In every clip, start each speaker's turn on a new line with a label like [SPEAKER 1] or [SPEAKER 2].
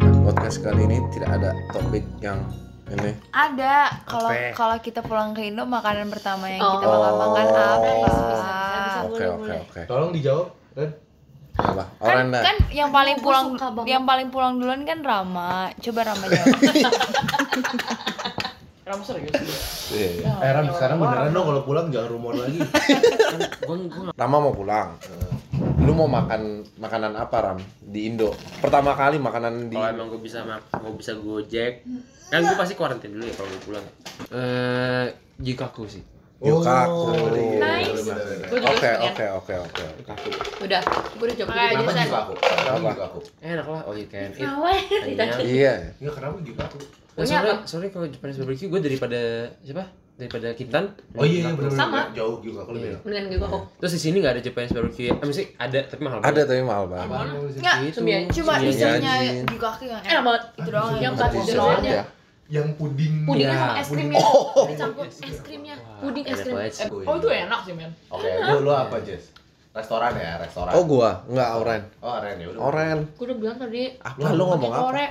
[SPEAKER 1] Nah, podcast kali ini tidak ada topik yang ini
[SPEAKER 2] Ada kalau
[SPEAKER 3] Apa?
[SPEAKER 2] kalau kita pulang ke Indo makanan pertama yang kita
[SPEAKER 1] Oh. Kan,
[SPEAKER 2] bakal makan apa?
[SPEAKER 1] Bisa,
[SPEAKER 4] bisa.
[SPEAKER 1] oke
[SPEAKER 4] Ah, Boleh,
[SPEAKER 1] oke
[SPEAKER 4] boleh.
[SPEAKER 1] oke
[SPEAKER 3] Tolong dijawab. Ren.
[SPEAKER 1] apa
[SPEAKER 2] Kan,
[SPEAKER 1] Orenda
[SPEAKER 2] kan yang paling
[SPEAKER 4] Gua
[SPEAKER 2] pulang
[SPEAKER 4] suka banget.
[SPEAKER 2] yang paling pulang duluan kan Rama. Coba Rama jawab.
[SPEAKER 5] Kamu serius?
[SPEAKER 1] Iya, iya.
[SPEAKER 3] Eh Ram, sekarang beneran dong kalau pulang jangan rumor lagi.
[SPEAKER 5] Gue gue
[SPEAKER 1] Rama mau pulang lu mau makan makanan apa Ram di Indo pertama kali makanan di
[SPEAKER 5] kalau emang gue bisa mak gue bisa gojek kan gue pasti kuarantin dulu ya kalau gue pulang eh jikaku sih
[SPEAKER 1] Yukaku
[SPEAKER 3] Oh, iya,
[SPEAKER 4] Nice.
[SPEAKER 3] bener, bener.
[SPEAKER 4] Gua juga
[SPEAKER 1] oke
[SPEAKER 4] pengen.
[SPEAKER 1] oke oke oke
[SPEAKER 5] kaku
[SPEAKER 4] Udah, gue udah jawab
[SPEAKER 2] Makanya.
[SPEAKER 4] dulu.
[SPEAKER 3] Kenapa
[SPEAKER 2] Bisa.
[SPEAKER 3] juga aku? Kenapa
[SPEAKER 1] Apa?
[SPEAKER 3] juga aku?
[SPEAKER 5] enak lah all you can
[SPEAKER 6] Oh.
[SPEAKER 5] eat
[SPEAKER 4] Awet,
[SPEAKER 5] Kenyang.
[SPEAKER 1] iya
[SPEAKER 3] Ya kenapa juga aku?
[SPEAKER 5] Nah, soalnya soalnya kalau Japanese barbecue gue daripada siapa daripada Kintan
[SPEAKER 3] Oh iya, iya bener-bener
[SPEAKER 4] Sama.
[SPEAKER 3] jauh juga aku lebih.
[SPEAKER 5] Iya.
[SPEAKER 4] Mendingan gue kok.
[SPEAKER 5] terus di sini nggak ada Japanese barbecue ya Eh, mesti ada tapi mahal Gitu.
[SPEAKER 1] ada tapi mahal banget
[SPEAKER 3] Apaan lu sih?
[SPEAKER 2] Nggak,
[SPEAKER 5] itu
[SPEAKER 4] sembilan.
[SPEAKER 2] Cuma
[SPEAKER 1] Iya,
[SPEAKER 2] isinya
[SPEAKER 1] anjing.
[SPEAKER 2] di kaki
[SPEAKER 6] Eh,
[SPEAKER 2] yang
[SPEAKER 4] Enak
[SPEAKER 2] enak.
[SPEAKER 4] banget.
[SPEAKER 2] Itu doang yang
[SPEAKER 4] Yang
[SPEAKER 2] enak.
[SPEAKER 4] pasti
[SPEAKER 1] Pasti
[SPEAKER 4] jeruk
[SPEAKER 1] serat
[SPEAKER 4] aja.
[SPEAKER 1] ya
[SPEAKER 3] Yang Ah, puding.
[SPEAKER 4] Pudingnya
[SPEAKER 5] Iya.
[SPEAKER 4] sama es krimnya.
[SPEAKER 6] ya?
[SPEAKER 4] Dicampur es krimnya. Puding es krim.
[SPEAKER 6] Eh,
[SPEAKER 5] banget sih.
[SPEAKER 3] Oh itu enak sih men. Oke, lu lu apa Jess? Restoran ya, restoran.
[SPEAKER 1] oh gua nggak Oren
[SPEAKER 3] Oh, Ren ya udah.
[SPEAKER 1] Oren
[SPEAKER 4] Gue udah bilang tadi
[SPEAKER 1] apa Ah, lu ngomong apa
[SPEAKER 4] sore,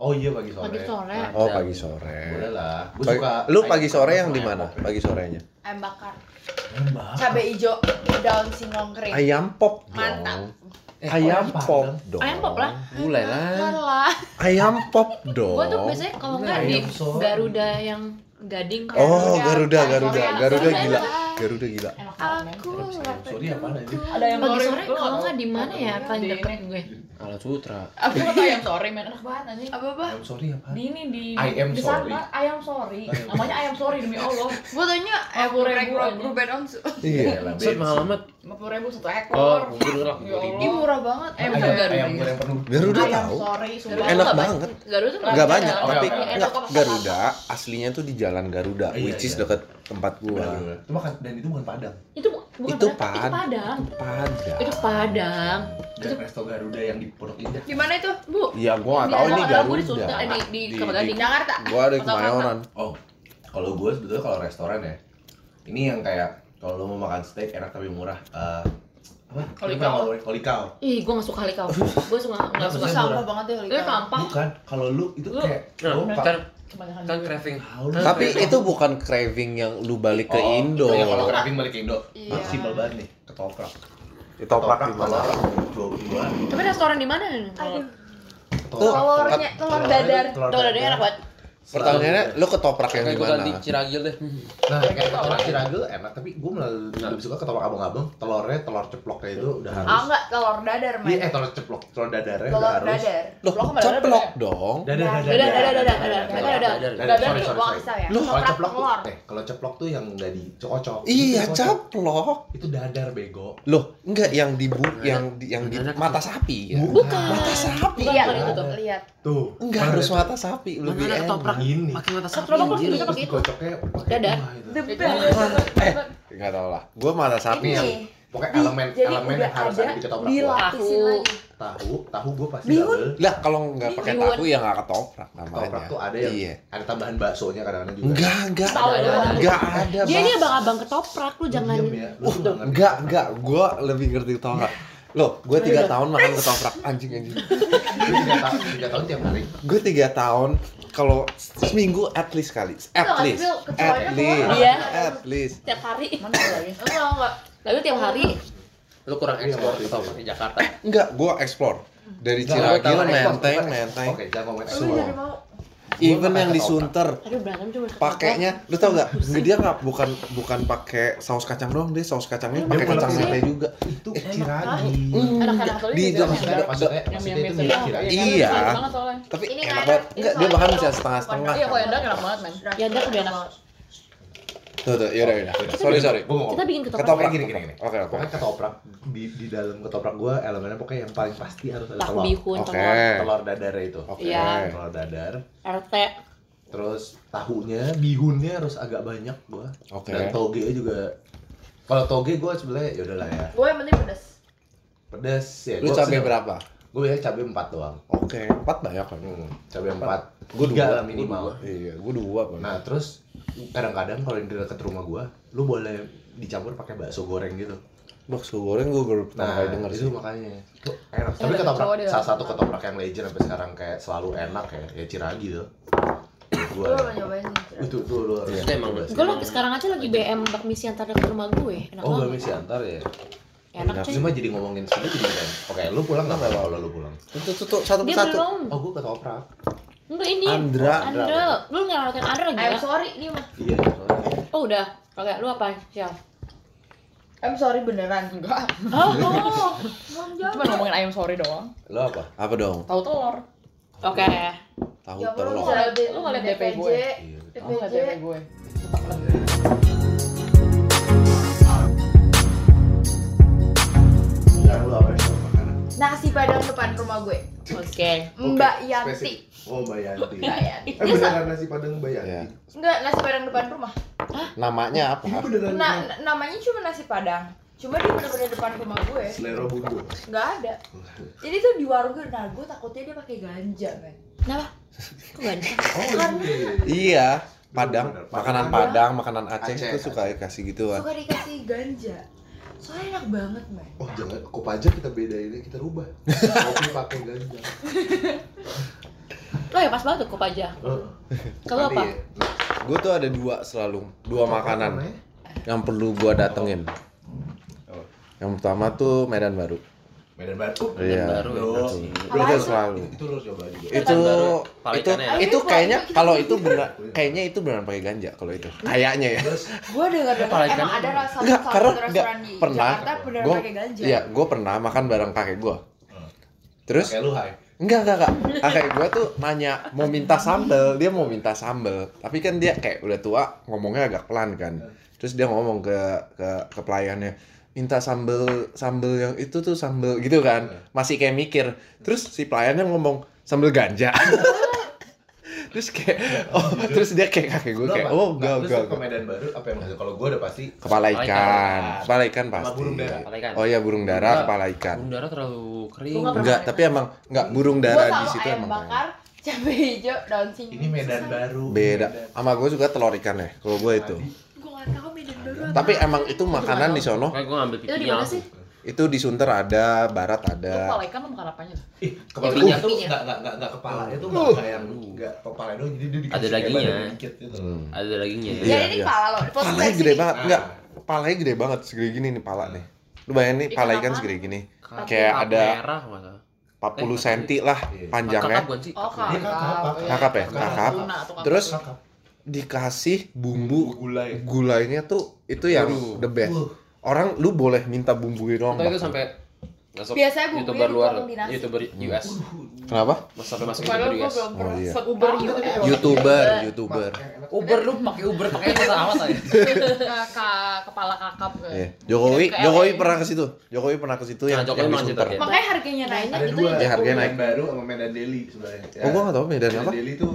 [SPEAKER 3] Oh iya pagi sore.
[SPEAKER 4] pagi sore.
[SPEAKER 1] oh pagi sore
[SPEAKER 3] Boleh lah. Gua
[SPEAKER 1] Pagi-
[SPEAKER 3] suka
[SPEAKER 1] lu
[SPEAKER 3] ayam
[SPEAKER 1] pagi sore
[SPEAKER 3] bakar
[SPEAKER 1] yang
[SPEAKER 3] sama
[SPEAKER 1] di
[SPEAKER 3] ayam
[SPEAKER 1] mana
[SPEAKER 3] pop.
[SPEAKER 1] pagi sorenya
[SPEAKER 2] Ayam bakar.
[SPEAKER 3] Ayam bakar.
[SPEAKER 2] Cabe hijau daun singkong
[SPEAKER 4] Eh,
[SPEAKER 2] kering.
[SPEAKER 1] ayam pop
[SPEAKER 2] Mantap.
[SPEAKER 1] dong Eh, ayam
[SPEAKER 3] ayam
[SPEAKER 1] pop
[SPEAKER 3] panggang.
[SPEAKER 1] dong
[SPEAKER 4] Ayam pop lah.
[SPEAKER 5] mulai lah
[SPEAKER 2] Lah.
[SPEAKER 1] ayam pop dong
[SPEAKER 4] Gue tuh biasanya kalau nggak di
[SPEAKER 3] Ayam sore.
[SPEAKER 4] Garuda yang gading.
[SPEAKER 1] oh
[SPEAKER 2] Garuda,
[SPEAKER 1] Garuda
[SPEAKER 2] Garuda,
[SPEAKER 1] Garuda Garuda
[SPEAKER 4] Garuda.
[SPEAKER 1] gila Garuda gila
[SPEAKER 6] enak banget
[SPEAKER 2] Aku lapar.
[SPEAKER 3] Sorry apa aja?
[SPEAKER 6] ada yang
[SPEAKER 4] Pagi
[SPEAKER 6] goreng.
[SPEAKER 4] sore
[SPEAKER 6] Gua
[SPEAKER 4] kalau
[SPEAKER 6] nggak
[SPEAKER 4] nggak di mana ya
[SPEAKER 6] Di
[SPEAKER 4] paling
[SPEAKER 6] ini.
[SPEAKER 4] deket gue.
[SPEAKER 5] ala sutra
[SPEAKER 6] aku nggak tahu ayam sore men enak banget anjing
[SPEAKER 2] Apa apa?
[SPEAKER 3] Ayam sore apa?
[SPEAKER 6] di ini di
[SPEAKER 3] I am
[SPEAKER 6] di
[SPEAKER 3] sorry.
[SPEAKER 6] sana ayam sorry
[SPEAKER 3] Ayam
[SPEAKER 6] namanya ayam sorry demi allah
[SPEAKER 2] Gue tanya ayam
[SPEAKER 6] Aku
[SPEAKER 2] goreng
[SPEAKER 6] ribu aja.
[SPEAKER 2] Ruben Onsu.
[SPEAKER 1] iya
[SPEAKER 5] set mahal amat
[SPEAKER 6] lima puluh ribu satu
[SPEAKER 5] oh
[SPEAKER 6] ekor
[SPEAKER 5] gue denger lah
[SPEAKER 6] Ya Allah.
[SPEAKER 2] Ini murah banget.
[SPEAKER 6] Ayam
[SPEAKER 3] Ayam
[SPEAKER 6] Garuda.
[SPEAKER 3] ayam goreng penuh.
[SPEAKER 1] Garuda
[SPEAKER 6] ayam
[SPEAKER 1] tahu
[SPEAKER 6] sorry sumpah
[SPEAKER 1] Enak
[SPEAKER 4] Nggak
[SPEAKER 1] banget.
[SPEAKER 4] banyak. Garuda tuh Iya,
[SPEAKER 1] Nggak banyak,
[SPEAKER 4] ada.
[SPEAKER 3] Oke,
[SPEAKER 1] tapi
[SPEAKER 3] oke, oke.
[SPEAKER 1] nggak,
[SPEAKER 4] Toko-toko
[SPEAKER 1] Garuda aslinya tuh di Jalan Garuda,
[SPEAKER 3] Iya,
[SPEAKER 1] which is
[SPEAKER 3] iya.
[SPEAKER 1] deket tempat gua.
[SPEAKER 3] Bener. Itu makan kan, dan itu bukan Padang.
[SPEAKER 4] Itu bu- bukan
[SPEAKER 1] Itu
[SPEAKER 4] Padang,
[SPEAKER 1] Pad-
[SPEAKER 4] Itu
[SPEAKER 1] Padang.
[SPEAKER 4] Padang. Itu Padang.
[SPEAKER 3] Dan resto Garuda yang di Pondok Indah.
[SPEAKER 2] Gimana itu? Bu,
[SPEAKER 1] Iya, gua nggak
[SPEAKER 4] Di
[SPEAKER 1] tahu ini
[SPEAKER 4] Padang, gua di
[SPEAKER 1] Garuda.
[SPEAKER 4] Sultan- eh, di- di Kabupaten
[SPEAKER 1] di-
[SPEAKER 2] Jakarta.
[SPEAKER 1] Gua ada di Kemayoran.
[SPEAKER 3] Oh, kalau gue sebetulnya kalau restoran ya, ini yang kayak kalau lo mau makan steak enak tapi murah. Eh, apa?
[SPEAKER 6] Kolikau.
[SPEAKER 3] Kolikau. Kolikau.
[SPEAKER 4] Ih, gue nggak suka kali kau. Gue suka nggak suka.
[SPEAKER 3] Maksudnya
[SPEAKER 2] sampah
[SPEAKER 3] murah.
[SPEAKER 2] banget ya
[SPEAKER 6] Iya,
[SPEAKER 4] Itu
[SPEAKER 2] Lika.
[SPEAKER 4] sampah.
[SPEAKER 3] Bukan, kalau lu itu
[SPEAKER 5] Lu-
[SPEAKER 3] kayak
[SPEAKER 5] Nah,
[SPEAKER 3] lu
[SPEAKER 5] kan
[SPEAKER 6] kebanyakan
[SPEAKER 5] kan
[SPEAKER 6] duit.
[SPEAKER 5] craving
[SPEAKER 3] Tahu lu.
[SPEAKER 1] Tapi itu bukan craving yang lu balik ke
[SPEAKER 4] iya,
[SPEAKER 3] Oh,
[SPEAKER 1] Indo.
[SPEAKER 3] itu ya, kalau craving balik ke Indo, Ah,
[SPEAKER 2] Iya.
[SPEAKER 3] simpel banget nih, ketoprak.
[SPEAKER 1] Ketoprak di mana?
[SPEAKER 3] Dua puluh
[SPEAKER 4] Tapi restoran di mana? Aduh,
[SPEAKER 2] Telurnya, telur dadar.
[SPEAKER 4] tau dadar enak banget.
[SPEAKER 1] Pertanyaannya, lu ketoprak yang
[SPEAKER 5] kayak
[SPEAKER 1] di
[SPEAKER 5] gue ganti
[SPEAKER 1] mana?
[SPEAKER 5] ciragil deh
[SPEAKER 3] gitu. Nah, kayak ketoprak Ciragel enak, tapi gue malah lebih suka ketoprak abang-abang. Telurnya, telur ceploknya itu udah harus.
[SPEAKER 2] Ah enggak, telur dadar,
[SPEAKER 3] Iya,
[SPEAKER 2] Mas.
[SPEAKER 3] eh telur ceplok, telur dadarnya
[SPEAKER 2] Telur
[SPEAKER 3] udah harus.
[SPEAKER 2] dadar.
[SPEAKER 1] Loh,
[SPEAKER 6] Ceplok sama dadar
[SPEAKER 1] ceplok
[SPEAKER 4] ya?
[SPEAKER 1] dong.
[SPEAKER 3] Dadar,
[SPEAKER 4] Dadar, dadar, dadar, dadar.
[SPEAKER 3] dadar,
[SPEAKER 4] Dadar,
[SPEAKER 3] dadar.
[SPEAKER 5] dadar.
[SPEAKER 3] Dadar,
[SPEAKER 2] Dadar
[SPEAKER 3] sorry,
[SPEAKER 2] tuh
[SPEAKER 3] sorry,
[SPEAKER 2] gua
[SPEAKER 3] sorry.
[SPEAKER 2] kasih tau ya.
[SPEAKER 1] Loh,
[SPEAKER 3] Kalau
[SPEAKER 2] Toprak
[SPEAKER 3] ceplok,
[SPEAKER 2] telur.
[SPEAKER 3] tuh- eh, kalau ceplok tuh yang udah dicocok.
[SPEAKER 1] Iya,
[SPEAKER 3] Itu dicocok.
[SPEAKER 1] ceplok.
[SPEAKER 3] Itu dadar bego.
[SPEAKER 1] Loh, enggak yang di bu, yang di, yang di
[SPEAKER 5] Banana
[SPEAKER 1] mata sapi ya.
[SPEAKER 3] Bukan.
[SPEAKER 1] Mata sapi.
[SPEAKER 2] Iya,
[SPEAKER 3] Bukan gitu.
[SPEAKER 2] itu
[SPEAKER 3] dadar.
[SPEAKER 2] lihat.
[SPEAKER 3] Tuh.
[SPEAKER 1] Enggak
[SPEAKER 3] mana
[SPEAKER 1] harus
[SPEAKER 3] ada-
[SPEAKER 1] mata sapi, lebih
[SPEAKER 5] Mana ada ketoprak?
[SPEAKER 1] enak.
[SPEAKER 3] Gini.
[SPEAKER 5] pakai mata sapi
[SPEAKER 4] Ketoprak
[SPEAKER 5] anjir.
[SPEAKER 4] bisa
[SPEAKER 3] Terus
[SPEAKER 4] pakai itu.
[SPEAKER 3] dikocoknya pakai
[SPEAKER 4] Dadar.
[SPEAKER 3] buah itu.
[SPEAKER 6] Iya,
[SPEAKER 2] The best.
[SPEAKER 1] Eh, enggak tahu lah. Gua mata sapi yang
[SPEAKER 2] Ini.
[SPEAKER 3] Pokoknya
[SPEAKER 2] Di-
[SPEAKER 3] elemen
[SPEAKER 2] jadi
[SPEAKER 3] elemen
[SPEAKER 2] udah
[SPEAKER 3] yang harus
[SPEAKER 2] ada
[SPEAKER 3] ada di ketoprak. gua.
[SPEAKER 2] dilapisin
[SPEAKER 4] Tahu.
[SPEAKER 2] lagi.
[SPEAKER 3] Tahu, tahu gue pasti
[SPEAKER 2] Bihun.
[SPEAKER 3] double.
[SPEAKER 1] Lah kalau nggak pakai
[SPEAKER 4] Bihun.
[SPEAKER 1] tahu ya nggak ketoprak namanya.
[SPEAKER 3] Ketoprak tuh ada yang
[SPEAKER 1] Iya.
[SPEAKER 3] ada tambahan baksonya kadang-kadang juga.
[SPEAKER 1] Enggak, enggak.
[SPEAKER 4] Tahu
[SPEAKER 3] ada,
[SPEAKER 4] doang.
[SPEAKER 3] ada.
[SPEAKER 1] Enggak ada,
[SPEAKER 4] Dia ini
[SPEAKER 1] Bang.
[SPEAKER 4] abang-abang ketoprak lu
[SPEAKER 3] Lu
[SPEAKER 4] jangan.
[SPEAKER 3] diem ya,
[SPEAKER 1] Uh,
[SPEAKER 3] lu tuh nggak ngerti.
[SPEAKER 1] enggak, enggak. Gua lebih ngerti ketoprak. Loh, gue tiga tahun makan ketoprak anjing anjing.
[SPEAKER 3] Lu tiga tahun, tiga tahun tiap hari.
[SPEAKER 1] Gue tiga tahun kalau seminggu at least kali, at
[SPEAKER 2] Tau nggak sih,
[SPEAKER 1] least,
[SPEAKER 2] Bil? Kecoanya
[SPEAKER 1] at least,
[SPEAKER 2] keluar.
[SPEAKER 4] Iya.
[SPEAKER 1] at least.
[SPEAKER 4] Tiap hari.
[SPEAKER 6] mana
[SPEAKER 4] iya.
[SPEAKER 6] lagi
[SPEAKER 2] Enggak, enggak.
[SPEAKER 4] Lalu tiap hari
[SPEAKER 5] lu kurang
[SPEAKER 3] Iya,
[SPEAKER 5] ekspor
[SPEAKER 3] waktu itu.
[SPEAKER 5] ketoprak di Jakarta
[SPEAKER 1] Enggak, gue explore dari
[SPEAKER 3] Enggak, lu tahu
[SPEAKER 1] Ciragil, Iya,
[SPEAKER 3] ekspor,
[SPEAKER 1] Menteng,
[SPEAKER 3] bukan ekspor.
[SPEAKER 1] Menteng,
[SPEAKER 3] Oke, jangan ngomongin
[SPEAKER 2] Lu
[SPEAKER 3] ekspor.
[SPEAKER 2] jadi mau.
[SPEAKER 1] even
[SPEAKER 3] Gua
[SPEAKER 1] yang di
[SPEAKER 3] makan
[SPEAKER 1] Sunter,
[SPEAKER 4] aduh berantem cuma ketoprak.
[SPEAKER 1] pakainya lu tau gak dia nggak bukan bukan pakai saus kacang doang dia saus kacangnya pakai
[SPEAKER 3] bolak-
[SPEAKER 1] kacang mete juga
[SPEAKER 3] Itu ciragi.
[SPEAKER 4] Anak-anak
[SPEAKER 1] enggak
[SPEAKER 4] soalnya
[SPEAKER 1] di
[SPEAKER 4] juga
[SPEAKER 1] Iya, maksudnya
[SPEAKER 3] Maksudnya, maksudnya, maksudnya itu mirip ciragi.
[SPEAKER 1] Iya.
[SPEAKER 6] Enak banget soalnya
[SPEAKER 1] tapi enak
[SPEAKER 2] Ini nggak
[SPEAKER 1] banget
[SPEAKER 2] enak,
[SPEAKER 1] enggak
[SPEAKER 2] ini
[SPEAKER 1] dia bahkan
[SPEAKER 2] soalnya
[SPEAKER 1] bisa
[SPEAKER 2] itu
[SPEAKER 1] setengah setengah
[SPEAKER 6] iya kalau yang enak banget men
[SPEAKER 4] Ya udah udah enak.
[SPEAKER 1] tuh tuh
[SPEAKER 3] iya,
[SPEAKER 1] yaudah yaudah sorry sorry
[SPEAKER 3] Gua mau
[SPEAKER 4] Kita
[SPEAKER 3] ngomong.
[SPEAKER 4] bikin ketoprak.
[SPEAKER 1] ketoprak
[SPEAKER 3] gitu. Gini, gini, gini.
[SPEAKER 1] oke oke
[SPEAKER 3] Pokoknya ketoprak di di dalam ketoprak gue elemennya pokoknya yang paling pasti harus ada
[SPEAKER 4] Tahu
[SPEAKER 3] telur.
[SPEAKER 4] bihun,
[SPEAKER 1] oke
[SPEAKER 4] telur,
[SPEAKER 3] Telur dadar itu.
[SPEAKER 1] oke
[SPEAKER 4] Iya.
[SPEAKER 3] Telur dadar.
[SPEAKER 4] RT.
[SPEAKER 3] Terus tahunya, bihunnya harus agak banyak gua.
[SPEAKER 1] oke
[SPEAKER 3] Dan toge juga. Kalau toge gua sebenarnya ya udahlah ya.
[SPEAKER 2] Gue yang penting pedes.
[SPEAKER 3] Pedas ya.
[SPEAKER 1] lu cabai berapa
[SPEAKER 3] Gue biasanya ya cabai 4 doang.
[SPEAKER 1] oke empat banyak kan
[SPEAKER 3] Hmm, cabai 4.
[SPEAKER 1] Gua
[SPEAKER 3] Gue
[SPEAKER 1] dua,
[SPEAKER 3] lah
[SPEAKER 1] gua
[SPEAKER 3] minimal.
[SPEAKER 1] iya gue dua kan
[SPEAKER 3] Nah, terus kadang-kadang kalau di dekat rumah gua, lu boleh dicampur pakai bakso goreng gitu.
[SPEAKER 1] bakso goreng gue baru pertama kali denger
[SPEAKER 3] Nah, itu
[SPEAKER 1] sih
[SPEAKER 3] makanya enak. Tapi
[SPEAKER 6] Enak, cowok
[SPEAKER 3] ketoprak
[SPEAKER 6] dia.
[SPEAKER 3] salah satu ketoprak yang legend sampai sekarang kayak selalu enak ya, ya Ciragi tuh. Gua.
[SPEAKER 2] Gue mau nyobain sih.
[SPEAKER 3] Itu tuh lu harus
[SPEAKER 1] Itu
[SPEAKER 5] emang
[SPEAKER 3] coba sih.
[SPEAKER 4] Gue lagi sekarang aja lagi BM bak misi antar dekat rumah gue. Enak
[SPEAKER 3] Oh, gak
[SPEAKER 4] banget.
[SPEAKER 3] misi antar ya.
[SPEAKER 4] Enak
[SPEAKER 3] Nah,
[SPEAKER 4] cuy.
[SPEAKER 3] cuma jadi ngomongin sini jadi keren. Oke, lu pulang nggak apa-apa kalau lu pulang?
[SPEAKER 1] itu tuh, tuh satu
[SPEAKER 4] Dia
[SPEAKER 1] persatu
[SPEAKER 4] belum.
[SPEAKER 3] Oh, gua ketoprak.
[SPEAKER 4] Enggak ini.
[SPEAKER 1] Andra.
[SPEAKER 4] Andra. Lu nggak ngelakuin Andra
[SPEAKER 2] I'm
[SPEAKER 4] gitu?
[SPEAKER 2] sorry nih mah.
[SPEAKER 3] Iya, soalnya.
[SPEAKER 4] Oh udah. Oke, lu apa? Sial.
[SPEAKER 2] I'm sorry beneran.
[SPEAKER 6] Enggak.
[SPEAKER 4] Oh, oh.
[SPEAKER 2] Mau
[SPEAKER 6] Cuma
[SPEAKER 2] jawab.
[SPEAKER 6] ngomongin ayam sorry doang.
[SPEAKER 3] Lu apa?
[SPEAKER 1] apa dong
[SPEAKER 6] Tahu telur.
[SPEAKER 4] Oke.
[SPEAKER 1] tahu
[SPEAKER 2] Ya lu
[SPEAKER 1] telur
[SPEAKER 2] ngeliat
[SPEAKER 6] Lu nggak liat DP gue?
[SPEAKER 3] Iya.
[SPEAKER 6] Oh, nggak cewek gue.
[SPEAKER 3] Sekarang lu apa yang suka makanan?
[SPEAKER 2] Nasi padang depan rumah gue.
[SPEAKER 4] Oke.
[SPEAKER 2] Mbak
[SPEAKER 3] Oke,
[SPEAKER 2] Yanti.
[SPEAKER 3] spesifik. Oh, Mbak Yanti.
[SPEAKER 2] Mbak Yanti.
[SPEAKER 3] Eh, beneran nasi padang Mbak Yanti.
[SPEAKER 1] Iya.
[SPEAKER 2] Enggak, nasi padang depan rumah.
[SPEAKER 1] namanya
[SPEAKER 3] Ini
[SPEAKER 1] apa
[SPEAKER 3] beneran
[SPEAKER 2] Nah, n- namanya cuma nasi padang. Cuma dia bener-bener depan rumah gue.
[SPEAKER 3] selera bumbu.
[SPEAKER 2] Nggak ada. Jadi tuh di warung gue, nah gue takutnya dia pakai ganja, men.
[SPEAKER 4] Kenapa? Kok ganteng?
[SPEAKER 3] Oh, iya.
[SPEAKER 1] iya Padang,
[SPEAKER 3] Bener,
[SPEAKER 1] makanan
[SPEAKER 2] Padang.
[SPEAKER 1] Padang, makanan Aceh,
[SPEAKER 3] Aceh,
[SPEAKER 1] tuh suka kasih gituan.
[SPEAKER 2] Suka dikasih ganja. Soalnya enak banget, men.
[SPEAKER 3] Oh jangan, kok aja kita bedainnya kita rubah. Kopi pakai ganja.
[SPEAKER 1] Eh,
[SPEAKER 4] Lo ya pas banget tuh kup aja. Kalau
[SPEAKER 3] Tadi
[SPEAKER 4] apa?
[SPEAKER 3] ya,
[SPEAKER 1] Gue tuh ada dua selalu, dua
[SPEAKER 3] apa
[SPEAKER 1] makanan
[SPEAKER 3] namanya?
[SPEAKER 1] yang perlu gua datengin.
[SPEAKER 3] Oh.
[SPEAKER 1] Yang pertama tuh Medan Baru.
[SPEAKER 3] Medan Baru.
[SPEAKER 1] Iya.
[SPEAKER 5] baru ya.
[SPEAKER 3] Yo.
[SPEAKER 5] sih.
[SPEAKER 1] Itu
[SPEAKER 2] Apaan tuh?
[SPEAKER 1] selalu.
[SPEAKER 3] Itu lo harus coba juga.
[SPEAKER 1] Itu
[SPEAKER 5] Baru,
[SPEAKER 1] itu
[SPEAKER 5] palikannya ya.
[SPEAKER 1] itu
[SPEAKER 2] Ayo,
[SPEAKER 1] kayaknya
[SPEAKER 2] palikan.
[SPEAKER 1] kalau itu benar kayaknya itu beneran pakai ganja kalau itu. Kayaknya ya.
[SPEAKER 3] Terus
[SPEAKER 2] Gue denger denger
[SPEAKER 5] Apalagi
[SPEAKER 2] emang
[SPEAKER 5] kan-
[SPEAKER 2] ada rasa
[SPEAKER 1] Nggak,
[SPEAKER 2] salah
[SPEAKER 1] karena
[SPEAKER 2] satu restoran di
[SPEAKER 1] nggak pernah.
[SPEAKER 2] Jakarta beneran
[SPEAKER 1] Gua-
[SPEAKER 2] pakai ganja.
[SPEAKER 1] Iya, gue pernah makan bareng kakek gue.
[SPEAKER 3] Hmm.
[SPEAKER 1] Terus
[SPEAKER 3] kayak lu hai.
[SPEAKER 1] enggak enggak enggak. Kakek gue tuh nanya mau minta sambel, dia mau minta sambel. Tapi kan dia kayak udah tua, ngomongnya agak pelan kan. Terus dia ngomong ke ke ke pelayannya, minta sambel sambel yang itu tuh sambel gitu kan.
[SPEAKER 3] Hmm.
[SPEAKER 1] Masih kayak mikir. Terus si pelayannya ngomong sambel ganja. terus kayak oh, terus dia kayak kakek gue
[SPEAKER 3] Lu
[SPEAKER 1] kayak
[SPEAKER 3] apa?
[SPEAKER 1] oh enggak enggak.
[SPEAKER 3] Nah, terus lu ke
[SPEAKER 1] enggak."
[SPEAKER 3] Medan Baru apa yang maksud? Kalau gua udah pasti
[SPEAKER 1] Kepala ikan, kepala ikan
[SPEAKER 3] Sama
[SPEAKER 1] pasti.
[SPEAKER 3] burung dara.
[SPEAKER 5] Palikan.
[SPEAKER 1] Oh iya burung dara,
[SPEAKER 5] Enggak.
[SPEAKER 1] kepala ikan.
[SPEAKER 5] Burung darah terlalu kering.
[SPEAKER 6] Lu nggak pernah
[SPEAKER 1] Enggak,
[SPEAKER 6] makan?
[SPEAKER 1] tapi emang enggak burung
[SPEAKER 2] Gue
[SPEAKER 1] dara di
[SPEAKER 2] sama
[SPEAKER 1] situ
[SPEAKER 2] ayam
[SPEAKER 1] emang.
[SPEAKER 2] bakar, cabai hijau, daun singkong.
[SPEAKER 3] ini Medan Baru.
[SPEAKER 1] Beda.
[SPEAKER 3] Medan.
[SPEAKER 1] Sama gue suka telur ikan ya, kalau gue itu.
[SPEAKER 2] Gue gak tau Medan Baru apa.
[SPEAKER 1] Tapi emang itu makanan di sono,
[SPEAKER 5] Kayak gue ngambil
[SPEAKER 4] Itu di
[SPEAKER 5] pipinya.
[SPEAKER 4] mana
[SPEAKER 5] langsung.
[SPEAKER 4] sih?
[SPEAKER 1] itu di Sunter ada, barat
[SPEAKER 6] Lu
[SPEAKER 1] ada.
[SPEAKER 6] kepala ikan lu makan apanya?
[SPEAKER 3] Ih, kepala
[SPEAKER 5] Pipinya.
[SPEAKER 3] ikan tuh enggak enggak enggak enggak kepala itu enggak
[SPEAKER 1] Uh.
[SPEAKER 3] kayak enggak kepala itu jadi dia dikasih
[SPEAKER 5] Ada
[SPEAKER 3] kayak
[SPEAKER 5] dagingnya.
[SPEAKER 3] badan dikit gitu.
[SPEAKER 1] Hmm.
[SPEAKER 5] Ada
[SPEAKER 6] Ya,
[SPEAKER 5] dagingnya.
[SPEAKER 1] Iya,
[SPEAKER 2] Jadi ini
[SPEAKER 1] iya.
[SPEAKER 2] kepala lo.
[SPEAKER 1] Palanya gede banget,
[SPEAKER 3] Nah.
[SPEAKER 1] enggak. Palanya gede banget, segede gini nih pala nih. Lu bayangin nih,
[SPEAKER 4] Ikan
[SPEAKER 1] pala ikan
[SPEAKER 4] apa?
[SPEAKER 1] segede gini.
[SPEAKER 5] Kakap
[SPEAKER 1] Kayak ada
[SPEAKER 5] merah nggak salah.
[SPEAKER 1] 40 cm lah
[SPEAKER 3] Iya.
[SPEAKER 5] Kakap
[SPEAKER 1] panjangnya.
[SPEAKER 5] bukan sih?
[SPEAKER 6] Oh,
[SPEAKER 5] Kakap.
[SPEAKER 3] Ini kakap.
[SPEAKER 6] kakap.
[SPEAKER 1] Kakap ya?
[SPEAKER 3] Kakap.
[SPEAKER 6] tuna atau kakap
[SPEAKER 1] Terus
[SPEAKER 6] tuna.
[SPEAKER 1] dikasih bumbu
[SPEAKER 3] gulai.
[SPEAKER 1] gulainya tuh itu yang
[SPEAKER 5] Aduh.
[SPEAKER 1] the best.
[SPEAKER 3] Uh.
[SPEAKER 1] Orang lu boleh minta bumbunya doang.
[SPEAKER 5] Atau itu
[SPEAKER 1] bahkan.
[SPEAKER 5] sampai masuk
[SPEAKER 2] Biasanya bumbunya
[SPEAKER 5] youtuber luar,
[SPEAKER 2] dibuang di nasi.
[SPEAKER 5] youtuber
[SPEAKER 1] Hmm.
[SPEAKER 5] US,
[SPEAKER 1] Kenapa?
[SPEAKER 5] Mas sampai masuk
[SPEAKER 6] Padahal
[SPEAKER 5] youtuber
[SPEAKER 6] gue
[SPEAKER 5] US.
[SPEAKER 6] belum pernah
[SPEAKER 1] Oh, iya.
[SPEAKER 6] seuber gitu.
[SPEAKER 1] YouTuber, YouTuber.
[SPEAKER 5] Uber lu pakai Uber ya? pakai itu amat aja.
[SPEAKER 6] Kakak, kepala kakap. kan.
[SPEAKER 1] Iya. Jokowi,
[SPEAKER 6] Kayak
[SPEAKER 1] Jokowi
[SPEAKER 6] kayak-
[SPEAKER 1] pernah ke situ. Jokowi pernah ke situ
[SPEAKER 5] Nah,
[SPEAKER 1] yang yang
[SPEAKER 5] Jokowi
[SPEAKER 1] di
[SPEAKER 5] makan
[SPEAKER 1] Sunter.
[SPEAKER 5] situ, ya.
[SPEAKER 2] Makanya harganya
[SPEAKER 6] Iya,
[SPEAKER 2] naiknya
[SPEAKER 3] Ada
[SPEAKER 2] gitu
[SPEAKER 3] dua,
[SPEAKER 1] ya, harganya
[SPEAKER 3] Medan
[SPEAKER 1] naik.
[SPEAKER 3] Baru sama Medan Delhi sebenarnya.
[SPEAKER 4] ya.
[SPEAKER 1] Oh, gua nggak tahu Medan apa.
[SPEAKER 3] Delhi itu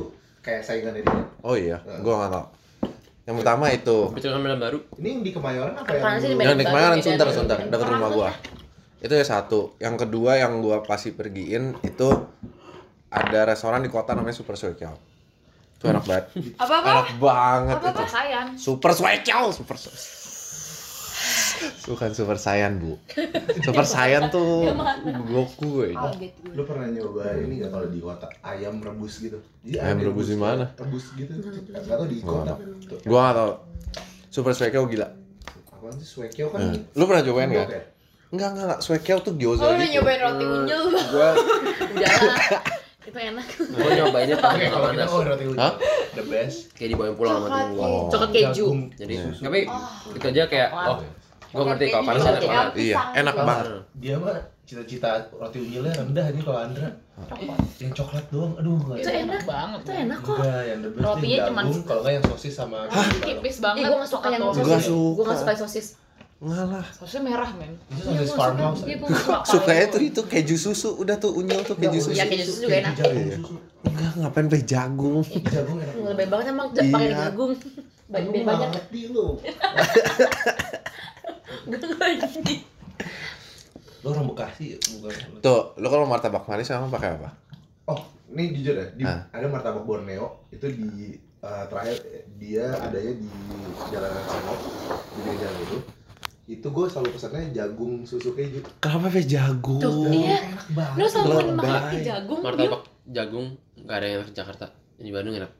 [SPEAKER 3] kayak saingannya dia.
[SPEAKER 1] Oh iya,
[SPEAKER 3] Nah.
[SPEAKER 1] gua nggak tahu. Yang pertama itu
[SPEAKER 5] Bicara sama yang baru.
[SPEAKER 3] Ini yang di Kemayoran apa yang?
[SPEAKER 4] Apaan sih di
[SPEAKER 3] dulu?
[SPEAKER 4] Medan?
[SPEAKER 1] yang di Kemayoran
[SPEAKER 4] Baru,
[SPEAKER 1] Sunter
[SPEAKER 4] Medan.
[SPEAKER 1] Sunter dekat rumah gua. Itu ya satu. Yang kedua yang gua pasti pergiin itu ada restoran di kota namanya Super Suekiao. Itu enak banget.
[SPEAKER 2] Apa-apa?
[SPEAKER 1] Enak banget
[SPEAKER 2] Apa-apa?
[SPEAKER 1] itu.
[SPEAKER 4] Sayang.
[SPEAKER 1] Super Suekiao, Super Suekiao. Bukan Super Saiyan, Bu. Super Saiyan tuh Goku eh. gue.
[SPEAKER 2] Kaget gue.
[SPEAKER 3] Lu pernah nyoba ini nggak kalau di kota ayam rebus gitu? Jadi
[SPEAKER 1] Ayam rebus di mana?
[SPEAKER 3] Rebus gitu. Enggak tahu di kota. Tuh,
[SPEAKER 1] Gua nggak tahu. Super Suekiao gila.
[SPEAKER 3] Apaan sih Suekyo kan?
[SPEAKER 1] Hmm. Lu pernah cobain
[SPEAKER 3] Enggak
[SPEAKER 1] nggak? Enggak, enggak, enggak. Suekiao tuh gyoza
[SPEAKER 2] Lo udah
[SPEAKER 1] gitu.
[SPEAKER 2] nyobain roti unyil lu.
[SPEAKER 3] Gua
[SPEAKER 4] Udah lah. Itu enak.
[SPEAKER 5] Gue nyobainnya
[SPEAKER 3] oke
[SPEAKER 5] pakai
[SPEAKER 3] kalau
[SPEAKER 5] kalau
[SPEAKER 3] kita
[SPEAKER 5] panas.
[SPEAKER 3] oh roti unyil.
[SPEAKER 1] Hah?
[SPEAKER 3] The best.
[SPEAKER 5] Kayak dibawain pulang sama
[SPEAKER 2] Coklat.
[SPEAKER 5] dulu.
[SPEAKER 1] Oh,
[SPEAKER 4] Coklat keju.
[SPEAKER 3] Jagung.
[SPEAKER 5] Jadi
[SPEAKER 1] Iya.
[SPEAKER 3] Susu.
[SPEAKER 5] tapi itu aja kayak oh gue ngerti kalau panas
[SPEAKER 2] Roti
[SPEAKER 5] enak banget.
[SPEAKER 2] pisang.
[SPEAKER 1] Iya, enak
[SPEAKER 3] Kalau
[SPEAKER 1] banget.
[SPEAKER 3] Dia mah cita-cita roti unyilnya rendah aja kalau Andra. Yang coklat doang. Aduh, nggak
[SPEAKER 6] Itu enak banget.
[SPEAKER 4] Itu enak kok.
[SPEAKER 3] Enggak, yang the best
[SPEAKER 6] Rotinya
[SPEAKER 3] nih
[SPEAKER 6] cuman-
[SPEAKER 3] jagung, kalau nggak yang sosis sama
[SPEAKER 6] Tipis banget.
[SPEAKER 4] Ih, gue gak Eh, suka yang
[SPEAKER 6] Atau-
[SPEAKER 1] Gua
[SPEAKER 4] sosis.
[SPEAKER 1] suka.
[SPEAKER 4] Gue gak suka yang sosis.
[SPEAKER 1] Enggak lah.
[SPEAKER 6] Sausnya merah, men.
[SPEAKER 3] Itu
[SPEAKER 4] Iya,
[SPEAKER 3] sosis
[SPEAKER 4] gua
[SPEAKER 3] farmhouse.
[SPEAKER 4] suka. Iya, gua suka.
[SPEAKER 1] Sukanya tuh itu keju susu. Udah tuh unyil tuh keju susu.
[SPEAKER 4] Iya, keju susu juga enak.
[SPEAKER 3] Jagung, susu.
[SPEAKER 1] Enggak, ngapain pakai jagung?
[SPEAKER 3] Jagung enak.
[SPEAKER 4] Lebih banget emang pakai
[SPEAKER 1] Iya.
[SPEAKER 4] jagung.
[SPEAKER 3] Aduh,
[SPEAKER 4] Banyak banyak.
[SPEAKER 3] mati lu.
[SPEAKER 1] Iya.
[SPEAKER 3] Lu orang Bekasi ya? bukan?
[SPEAKER 1] Tuh, lu kalau martabak manis emang pakai apa?
[SPEAKER 3] Oh, ini jujur ya, di,
[SPEAKER 1] Hah?
[SPEAKER 3] ada martabak Borneo itu di eh, terakhir eh, dia adanya di jalanan Solo, di pinggir jalan itu. itu gue selalu pesannya jagung susu keju
[SPEAKER 1] Kenapa pakai jagung?
[SPEAKER 2] Tuh, iya.
[SPEAKER 3] enak banget
[SPEAKER 2] Lu selalu
[SPEAKER 1] Lebay.
[SPEAKER 2] makan pakai jagung, Bil.
[SPEAKER 5] martabak jagung nggak ada yang enak di Jakarta di Bandung enak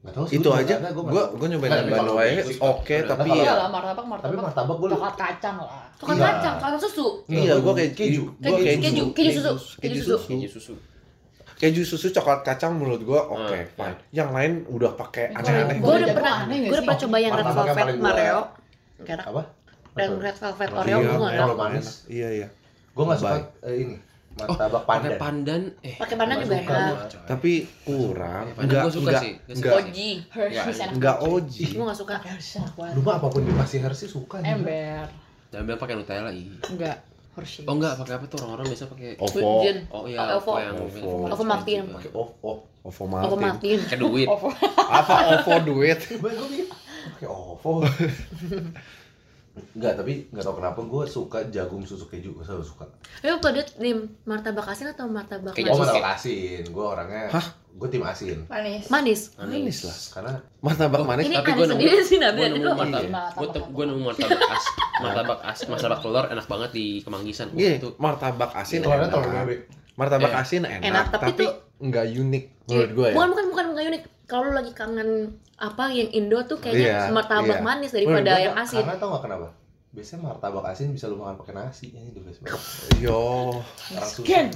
[SPEAKER 3] Nggak tahu sih,
[SPEAKER 1] Itu
[SPEAKER 3] gua
[SPEAKER 1] aja.
[SPEAKER 3] nggak ada, gua
[SPEAKER 1] Gua gua nyobain
[SPEAKER 3] Nggak,
[SPEAKER 1] yang
[SPEAKER 3] tapi
[SPEAKER 1] Bandung
[SPEAKER 3] kalau
[SPEAKER 1] aja.
[SPEAKER 3] bagus,
[SPEAKER 1] Oke,
[SPEAKER 5] kalau
[SPEAKER 1] tapi
[SPEAKER 6] Enggak
[SPEAKER 1] ya
[SPEAKER 6] Iya lah martabak
[SPEAKER 3] tapi
[SPEAKER 6] martabak
[SPEAKER 3] martabak gue
[SPEAKER 6] coklat kacang lah.
[SPEAKER 2] Bukan
[SPEAKER 3] Iya.
[SPEAKER 2] kacang, kacang susu.
[SPEAKER 1] Iya, gua kayak
[SPEAKER 3] Keju.
[SPEAKER 1] Gua
[SPEAKER 2] Keju, keju, keju susu,
[SPEAKER 1] keju
[SPEAKER 2] keju
[SPEAKER 1] susu.
[SPEAKER 5] keju susu
[SPEAKER 1] Keju susu coklat kacang menurut gua oke,
[SPEAKER 5] Hmm,
[SPEAKER 1] fine. Yang lain udah pakai aneh-aneh.
[SPEAKER 2] Gua udah
[SPEAKER 6] Jagung
[SPEAKER 2] pernah,
[SPEAKER 6] aneh nggak
[SPEAKER 2] gue udah
[SPEAKER 6] sih?
[SPEAKER 2] pernah coba yang red
[SPEAKER 3] Martabak yang
[SPEAKER 2] velvet
[SPEAKER 3] paling gua-
[SPEAKER 2] Mareo. Kayak enak.
[SPEAKER 3] apa
[SPEAKER 2] Yang red velvet
[SPEAKER 3] Martabak
[SPEAKER 2] Oreo
[SPEAKER 3] yang
[SPEAKER 2] gue
[SPEAKER 3] gua
[SPEAKER 2] nggak
[SPEAKER 3] enak.
[SPEAKER 2] enak.
[SPEAKER 3] Kalau manis.
[SPEAKER 1] Iya, iya.
[SPEAKER 3] gue nggak suka eh, ini martabak
[SPEAKER 5] pakai
[SPEAKER 3] pandan
[SPEAKER 5] pandan eh
[SPEAKER 2] Pakai pandan
[SPEAKER 5] nggak
[SPEAKER 2] juga ya?
[SPEAKER 5] suka
[SPEAKER 2] enak.
[SPEAKER 5] gua, coy.
[SPEAKER 1] Tapi kurang.
[SPEAKER 5] Pakai pandan
[SPEAKER 1] Enggak,
[SPEAKER 5] gue suka
[SPEAKER 1] enggak,
[SPEAKER 5] sih Iya, Gua suka
[SPEAKER 1] enggak.
[SPEAKER 5] sih.
[SPEAKER 2] Oji.
[SPEAKER 6] Hershey's
[SPEAKER 5] Nggak,
[SPEAKER 6] enak.
[SPEAKER 1] enggak
[SPEAKER 2] Ih,
[SPEAKER 1] oji.
[SPEAKER 2] gue
[SPEAKER 5] iya.
[SPEAKER 2] gak suka.
[SPEAKER 6] Hershey's enak
[SPEAKER 3] lu
[SPEAKER 6] banget.
[SPEAKER 3] mah apapun dikasih Hershey suka ya.
[SPEAKER 6] Ember.
[SPEAKER 5] Jangan bilang pakai Nutella ih.
[SPEAKER 6] Enggak. Hershey's.
[SPEAKER 5] Oh enggak, pakai apa tuh orang-orang biasa pakai
[SPEAKER 1] Ovo,
[SPEAKER 2] Jin.
[SPEAKER 5] Oh iya,
[SPEAKER 2] Oh, Ovo.
[SPEAKER 5] yang
[SPEAKER 1] Ovo.
[SPEAKER 2] Ovo Martin.
[SPEAKER 5] Pakai
[SPEAKER 3] oh oh
[SPEAKER 1] ovo
[SPEAKER 2] Aku
[SPEAKER 1] Martin.
[SPEAKER 2] matiin.
[SPEAKER 5] pakai duit.
[SPEAKER 6] Ovo.
[SPEAKER 1] Apa ovo duit?
[SPEAKER 3] gue mikir pakai ovo Enggak, tapi enggak tau kenapa gue suka jagung susu keju, gue selalu suka.
[SPEAKER 2] Lu pada tim martabak asin atau martabak
[SPEAKER 5] Keju.
[SPEAKER 3] Oh,
[SPEAKER 2] manis?
[SPEAKER 3] martabak asin. Gue orangnya,
[SPEAKER 1] Hah?
[SPEAKER 3] gue tim asin.
[SPEAKER 4] Manis.
[SPEAKER 2] Manis.
[SPEAKER 1] Manis lah.
[SPEAKER 3] Karena
[SPEAKER 1] Martabak manis.
[SPEAKER 2] Ini
[SPEAKER 5] tapi
[SPEAKER 2] aneh
[SPEAKER 5] gua nemu-
[SPEAKER 2] sendiri sih Nabi.
[SPEAKER 5] Gue
[SPEAKER 2] Ada
[SPEAKER 5] nemu
[SPEAKER 2] dua.
[SPEAKER 5] martabak. Gue tem- gua nemu martabak as, martabak as, martabak telur enak banget di Kemanggisan. Wah,
[SPEAKER 1] Iya,
[SPEAKER 5] Itu
[SPEAKER 1] martabak asin
[SPEAKER 3] telurnya telur
[SPEAKER 1] enak.
[SPEAKER 3] bebek.
[SPEAKER 1] Martabak
[SPEAKER 5] Iya.
[SPEAKER 1] asin enak,
[SPEAKER 2] Enak, tapi
[SPEAKER 1] tapi,
[SPEAKER 2] tuh-
[SPEAKER 1] nggak unik menurut gue ya.
[SPEAKER 2] Bukan bukan bukan bukan unik. Kalau lu lagi kangen apa yang Indo tuh
[SPEAKER 1] Iya,
[SPEAKER 2] kayaknya martabak
[SPEAKER 1] iya.
[SPEAKER 2] manis daripada
[SPEAKER 3] Gua-
[SPEAKER 2] yang asin.
[SPEAKER 3] Karena tau gak kenapa? Biasanya martabak asin bisa lu makan pakai nasi. Ini the best banget.
[SPEAKER 1] Yo,
[SPEAKER 3] Orang susu.
[SPEAKER 6] Ken.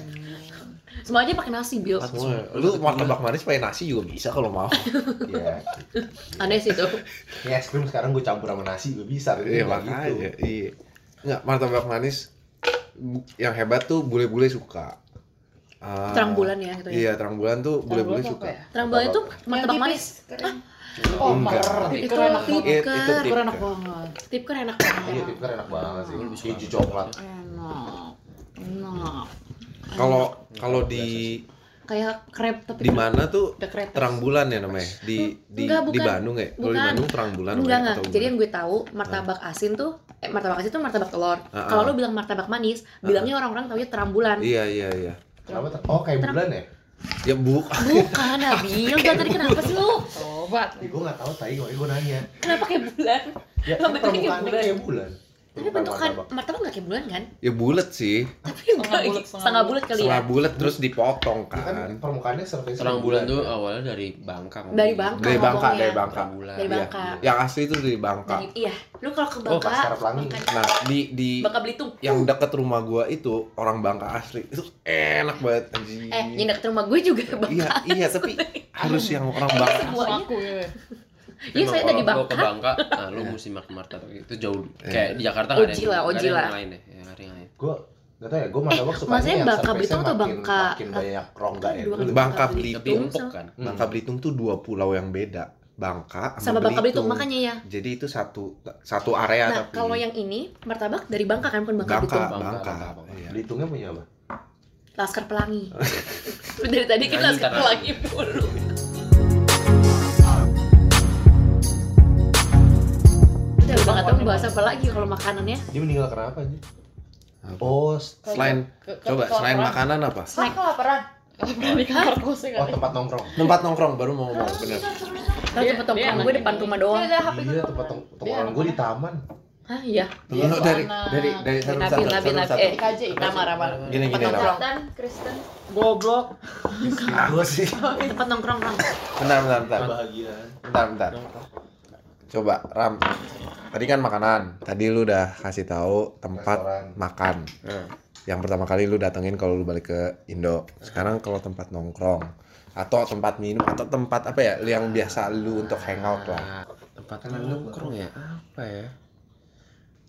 [SPEAKER 2] Semua aja pakai nasi, Bil.
[SPEAKER 1] semua. Lu martabak manis pakai nasi juga bisa kalau mau.
[SPEAKER 3] Iya.
[SPEAKER 2] Aneh sih itu.
[SPEAKER 3] Ini es krim sekarang gue campur sama nasi gue bisa. tapi
[SPEAKER 1] Iya
[SPEAKER 3] nggak
[SPEAKER 1] makanya. Iya. Nggak martabak manis bu- yang hebat tuh bule-bule suka. Ah,
[SPEAKER 2] Terang bulan ya gitu ya.
[SPEAKER 1] Iya, terang bulan tuh bule-bule suka.
[SPEAKER 2] Terang bulan itu martabak
[SPEAKER 4] Yang
[SPEAKER 2] manis. Ah,
[SPEAKER 4] tipis, kering.
[SPEAKER 2] Oh.
[SPEAKER 1] Enggak.
[SPEAKER 2] Itu
[SPEAKER 6] Oh, Itu kan enak banget.
[SPEAKER 2] tip.
[SPEAKER 1] It- itu
[SPEAKER 2] Tikar.
[SPEAKER 6] Itu enak
[SPEAKER 1] tikar.
[SPEAKER 6] banget.
[SPEAKER 2] Tip kan enak
[SPEAKER 3] Iya,
[SPEAKER 2] banget.
[SPEAKER 3] tipker enak banget sih.
[SPEAKER 5] Lu lebih suka
[SPEAKER 3] Keju coklat.
[SPEAKER 2] Enak. Enak. Iya,
[SPEAKER 1] Kalau kalau di
[SPEAKER 2] Kayak krep
[SPEAKER 1] di
[SPEAKER 2] tapi
[SPEAKER 1] mana tuh
[SPEAKER 2] Udah krep.
[SPEAKER 1] terang bulan ya namanya? Di di
[SPEAKER 2] Enggak,
[SPEAKER 1] di
[SPEAKER 2] bukan.
[SPEAKER 1] Bandung ya? Kalau di
[SPEAKER 2] Bukan.
[SPEAKER 1] Bandung terang bulan
[SPEAKER 2] Enggak
[SPEAKER 1] namanya,
[SPEAKER 2] enggak.
[SPEAKER 1] atau
[SPEAKER 2] Jadi
[SPEAKER 1] gimana?
[SPEAKER 2] yang gue tahu martabak asin tuh eh, martabak asin tuh martabak telur.
[SPEAKER 1] Ah,
[SPEAKER 2] Kalau
[SPEAKER 1] ah.
[SPEAKER 2] lu bilang martabak manis, bilangnya orang-orang taunya terang bulan.
[SPEAKER 1] Iya iya iya.
[SPEAKER 3] Kenapa? ter- Oh, kayak bulan ya?
[SPEAKER 1] Ya bu,
[SPEAKER 2] Bukan Nabil, gak tadi kenapa sih lu?
[SPEAKER 6] Tobat.
[SPEAKER 3] Ih, gue nggak tahu tadi makanya gue nanya.
[SPEAKER 2] Kenapa kayak bulan?
[SPEAKER 3] Ya,
[SPEAKER 2] Lo
[SPEAKER 3] kan
[SPEAKER 2] bentuknya kayak
[SPEAKER 3] permukaannya kayak bulan.
[SPEAKER 2] Tapi bentukan martabak gak kayak bulan kan?
[SPEAKER 1] ya bulat sih.
[SPEAKER 6] Setengah
[SPEAKER 2] Tapi enggak,
[SPEAKER 6] bulat, setengah
[SPEAKER 2] setengah bulat kali ya.
[SPEAKER 1] Setengah bulat terus dipotong
[SPEAKER 3] Ya kan
[SPEAKER 1] kan.
[SPEAKER 3] permukaannya surface gitu.
[SPEAKER 5] terang bulan tuh awalnya dari Bangka.
[SPEAKER 2] Dari Bangka
[SPEAKER 1] Dari Bangka,
[SPEAKER 2] ngomongnya.
[SPEAKER 1] dari Bangka.
[SPEAKER 5] Terang bulan.
[SPEAKER 2] Dari
[SPEAKER 1] Iya.
[SPEAKER 2] Bangka.
[SPEAKER 1] Yang asli itu dari Bangka.
[SPEAKER 2] Dari- iya, lu kalau ke
[SPEAKER 3] Oh, pasar
[SPEAKER 2] Bangka,
[SPEAKER 3] pelangi.
[SPEAKER 1] Nah, di di
[SPEAKER 2] Bangka Belitung.
[SPEAKER 1] yang deket rumah gua itu orang Bangka asli. Itu enak banget anjing.
[SPEAKER 2] Eh, yang deket rumah gue juga Bangka.
[SPEAKER 1] Iya, iya, tapi harus yang orang Bangka.
[SPEAKER 6] Langsung aku ya.
[SPEAKER 2] Iya, saya tadi
[SPEAKER 5] Kalau lu ke Bangka,
[SPEAKER 2] Bangka.
[SPEAKER 5] nah lu mesti makan martabak. Itu jauh kayak di Jakarta
[SPEAKER 2] Oji
[SPEAKER 5] yang-
[SPEAKER 2] lah,
[SPEAKER 5] nggak
[SPEAKER 2] Oji
[SPEAKER 5] yang
[SPEAKER 2] lah.
[SPEAKER 5] lain deh. Ya, nggak ada yang lain.
[SPEAKER 3] Gue nggak tahu ya, gue martabak
[SPEAKER 2] Eh,
[SPEAKER 3] suka
[SPEAKER 2] maksudnya
[SPEAKER 3] yang
[SPEAKER 2] Bangka
[SPEAKER 3] surface-nya
[SPEAKER 2] Belitung atau
[SPEAKER 3] makin-
[SPEAKER 2] Bangka?
[SPEAKER 3] Makin banyak rongga ya.
[SPEAKER 2] Dua-
[SPEAKER 1] Bangka
[SPEAKER 5] Tapi
[SPEAKER 1] Belitung.
[SPEAKER 5] empuk kan.
[SPEAKER 3] Hmm.
[SPEAKER 1] Bangka Belitung tuh dua pulau yang beda. Bangka
[SPEAKER 2] Sama Bangka Belitung makanya ya.
[SPEAKER 1] Jadi itu satu satu area
[SPEAKER 2] Nah,
[SPEAKER 1] Iya, tapi.
[SPEAKER 2] kalau yang ini martabak dari Bangka kan bukan
[SPEAKER 1] Bangka,
[SPEAKER 2] Bangka Belitung.
[SPEAKER 5] Belitung.
[SPEAKER 1] Bangka.
[SPEAKER 5] Bangka, Bangka.
[SPEAKER 1] Iya.
[SPEAKER 3] Belitungnya punya apa?
[SPEAKER 2] Laskar Pelangi. Lu dari tadi kita
[SPEAKER 5] Nyanyi
[SPEAKER 2] Laskar
[SPEAKER 5] ntar.
[SPEAKER 2] Pelangi mulu. Udah udah nggak tahu mau bahas apa lagi kalau makanannya.
[SPEAKER 3] Dia meninggal kenapa aja?
[SPEAKER 1] Apa?
[SPEAKER 3] Oh, s-
[SPEAKER 1] Selain
[SPEAKER 6] Ke- ke-
[SPEAKER 1] coba
[SPEAKER 6] ke-
[SPEAKER 1] selain
[SPEAKER 6] orang-
[SPEAKER 1] makanan apa?
[SPEAKER 4] Hah, kelaparan.
[SPEAKER 6] Kalau berani ke kantor kosnya
[SPEAKER 3] oh
[SPEAKER 6] kali.
[SPEAKER 3] tempat nongkrong.
[SPEAKER 1] Tempat nongkrong baru mau
[SPEAKER 2] Iya.
[SPEAKER 1] ngomong bener.
[SPEAKER 2] Kalau tempat tongkrong Iya, gue depan rumah doang.
[SPEAKER 4] Udah, HP gue.
[SPEAKER 3] Iya, tempat tong- nongkrong
[SPEAKER 6] Dia
[SPEAKER 3] gue di taman.
[SPEAKER 2] Hah iya.
[SPEAKER 1] Tunggu
[SPEAKER 6] Iya,
[SPEAKER 1] dari
[SPEAKER 6] soalnya-
[SPEAKER 1] dari dari satu
[SPEAKER 2] Nabi
[SPEAKER 1] satu
[SPEAKER 2] Nabi
[SPEAKER 1] satu
[SPEAKER 2] Nabi.
[SPEAKER 1] satu.
[SPEAKER 2] Eh
[SPEAKER 4] KJ.
[SPEAKER 2] Rama Rama.
[SPEAKER 1] Gini
[SPEAKER 2] Tempat
[SPEAKER 1] gini lah.
[SPEAKER 2] nongkrong.
[SPEAKER 4] Kristen, Kristen.
[SPEAKER 6] Goblok.
[SPEAKER 1] Aku sih.
[SPEAKER 2] Tempat Iya, nongkrong Ram.
[SPEAKER 1] Bentar bentar bentar.
[SPEAKER 3] Kebahagiaan.
[SPEAKER 1] Bentar bentar. Coba Ram. Tadi kan makanan. Tadi lu udah kasih tahu tempat
[SPEAKER 3] Restoran.
[SPEAKER 1] makan.
[SPEAKER 5] Nah,
[SPEAKER 1] Yang pertama kali lu datengin kalau lu balik ke Indo. Sekarang kalau tempat nongkrong atau tempat minum atau tempat apa ya yang biasa lu untuk hangout lah.
[SPEAKER 5] Ah, tempat
[SPEAKER 3] Karena lu-
[SPEAKER 5] nongkrong ya apa ya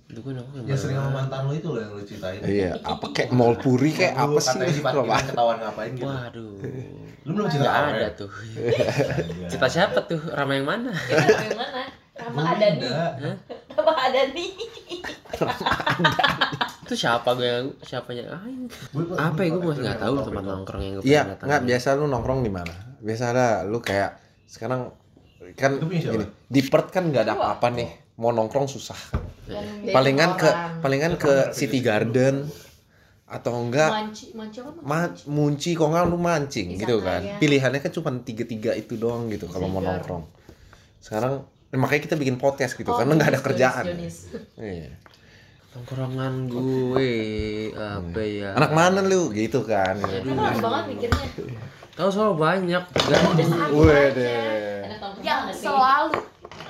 [SPEAKER 5] itu kan aku
[SPEAKER 3] Ya sering sama mantan lo itu loh yang lu ceritain.
[SPEAKER 1] Iya, apa kayak mall puri kayak
[SPEAKER 3] Yang lu
[SPEAKER 1] apa sih?
[SPEAKER 3] katanya di parkiran ketahuan ngapain gitu.
[SPEAKER 5] waduh
[SPEAKER 3] Lu belum cerita
[SPEAKER 5] nggak
[SPEAKER 1] Nah,
[SPEAKER 3] apa Iya.
[SPEAKER 5] ada
[SPEAKER 3] ya?
[SPEAKER 5] tuh
[SPEAKER 3] Astaga.
[SPEAKER 5] cerita siapa tuh Rama yang mana
[SPEAKER 4] Kita mau yang mana? Rama
[SPEAKER 3] Gua
[SPEAKER 5] Hmm.
[SPEAKER 4] ada nih.
[SPEAKER 3] enggak.
[SPEAKER 4] Rama ada nih.
[SPEAKER 5] itu siapa gue yang siapanya aing
[SPEAKER 3] Gua-
[SPEAKER 5] apa ya gue
[SPEAKER 3] gua-
[SPEAKER 5] masih nggak tahu
[SPEAKER 3] gua-
[SPEAKER 5] tempat nongkrong yang gue pernah
[SPEAKER 1] Iya,
[SPEAKER 5] datang.
[SPEAKER 1] nggak biasa lu nongkrong di mana? Biasa ada lu kayak sekarang kan
[SPEAKER 3] Lu punya siapa?
[SPEAKER 1] gini, di Perth kan nggak ada apa-apa nih. Mau nongkrong susah.
[SPEAKER 4] Dan
[SPEAKER 1] Palingan ke
[SPEAKER 4] orang.
[SPEAKER 1] palingan ke City Garden atau enggak
[SPEAKER 4] Manci, manci apa?
[SPEAKER 1] ma munci kok nggak lu mancing
[SPEAKER 4] Bisa
[SPEAKER 1] gitu kan.
[SPEAKER 4] kaya.
[SPEAKER 1] Pilihannya kan cuma tiga-tiga itu doang gitu kalau mau
[SPEAKER 6] Segar.
[SPEAKER 1] nongkrong. Sekarang eh, makanya kita bikin podcast gitu
[SPEAKER 4] Oh,
[SPEAKER 1] karena nggak ada
[SPEAKER 4] Jonis,
[SPEAKER 1] kerjaan.
[SPEAKER 4] Jonis, Jonis.
[SPEAKER 1] Iya.
[SPEAKER 5] Tongkrongan gue apa ya?
[SPEAKER 1] Anak mana lu gitu kan.
[SPEAKER 2] Kamu
[SPEAKER 5] Hmm.
[SPEAKER 2] lama banget mikirnya.
[SPEAKER 5] Tahu soal banyak. Gak
[SPEAKER 1] Wih deh.
[SPEAKER 2] Yang selalu.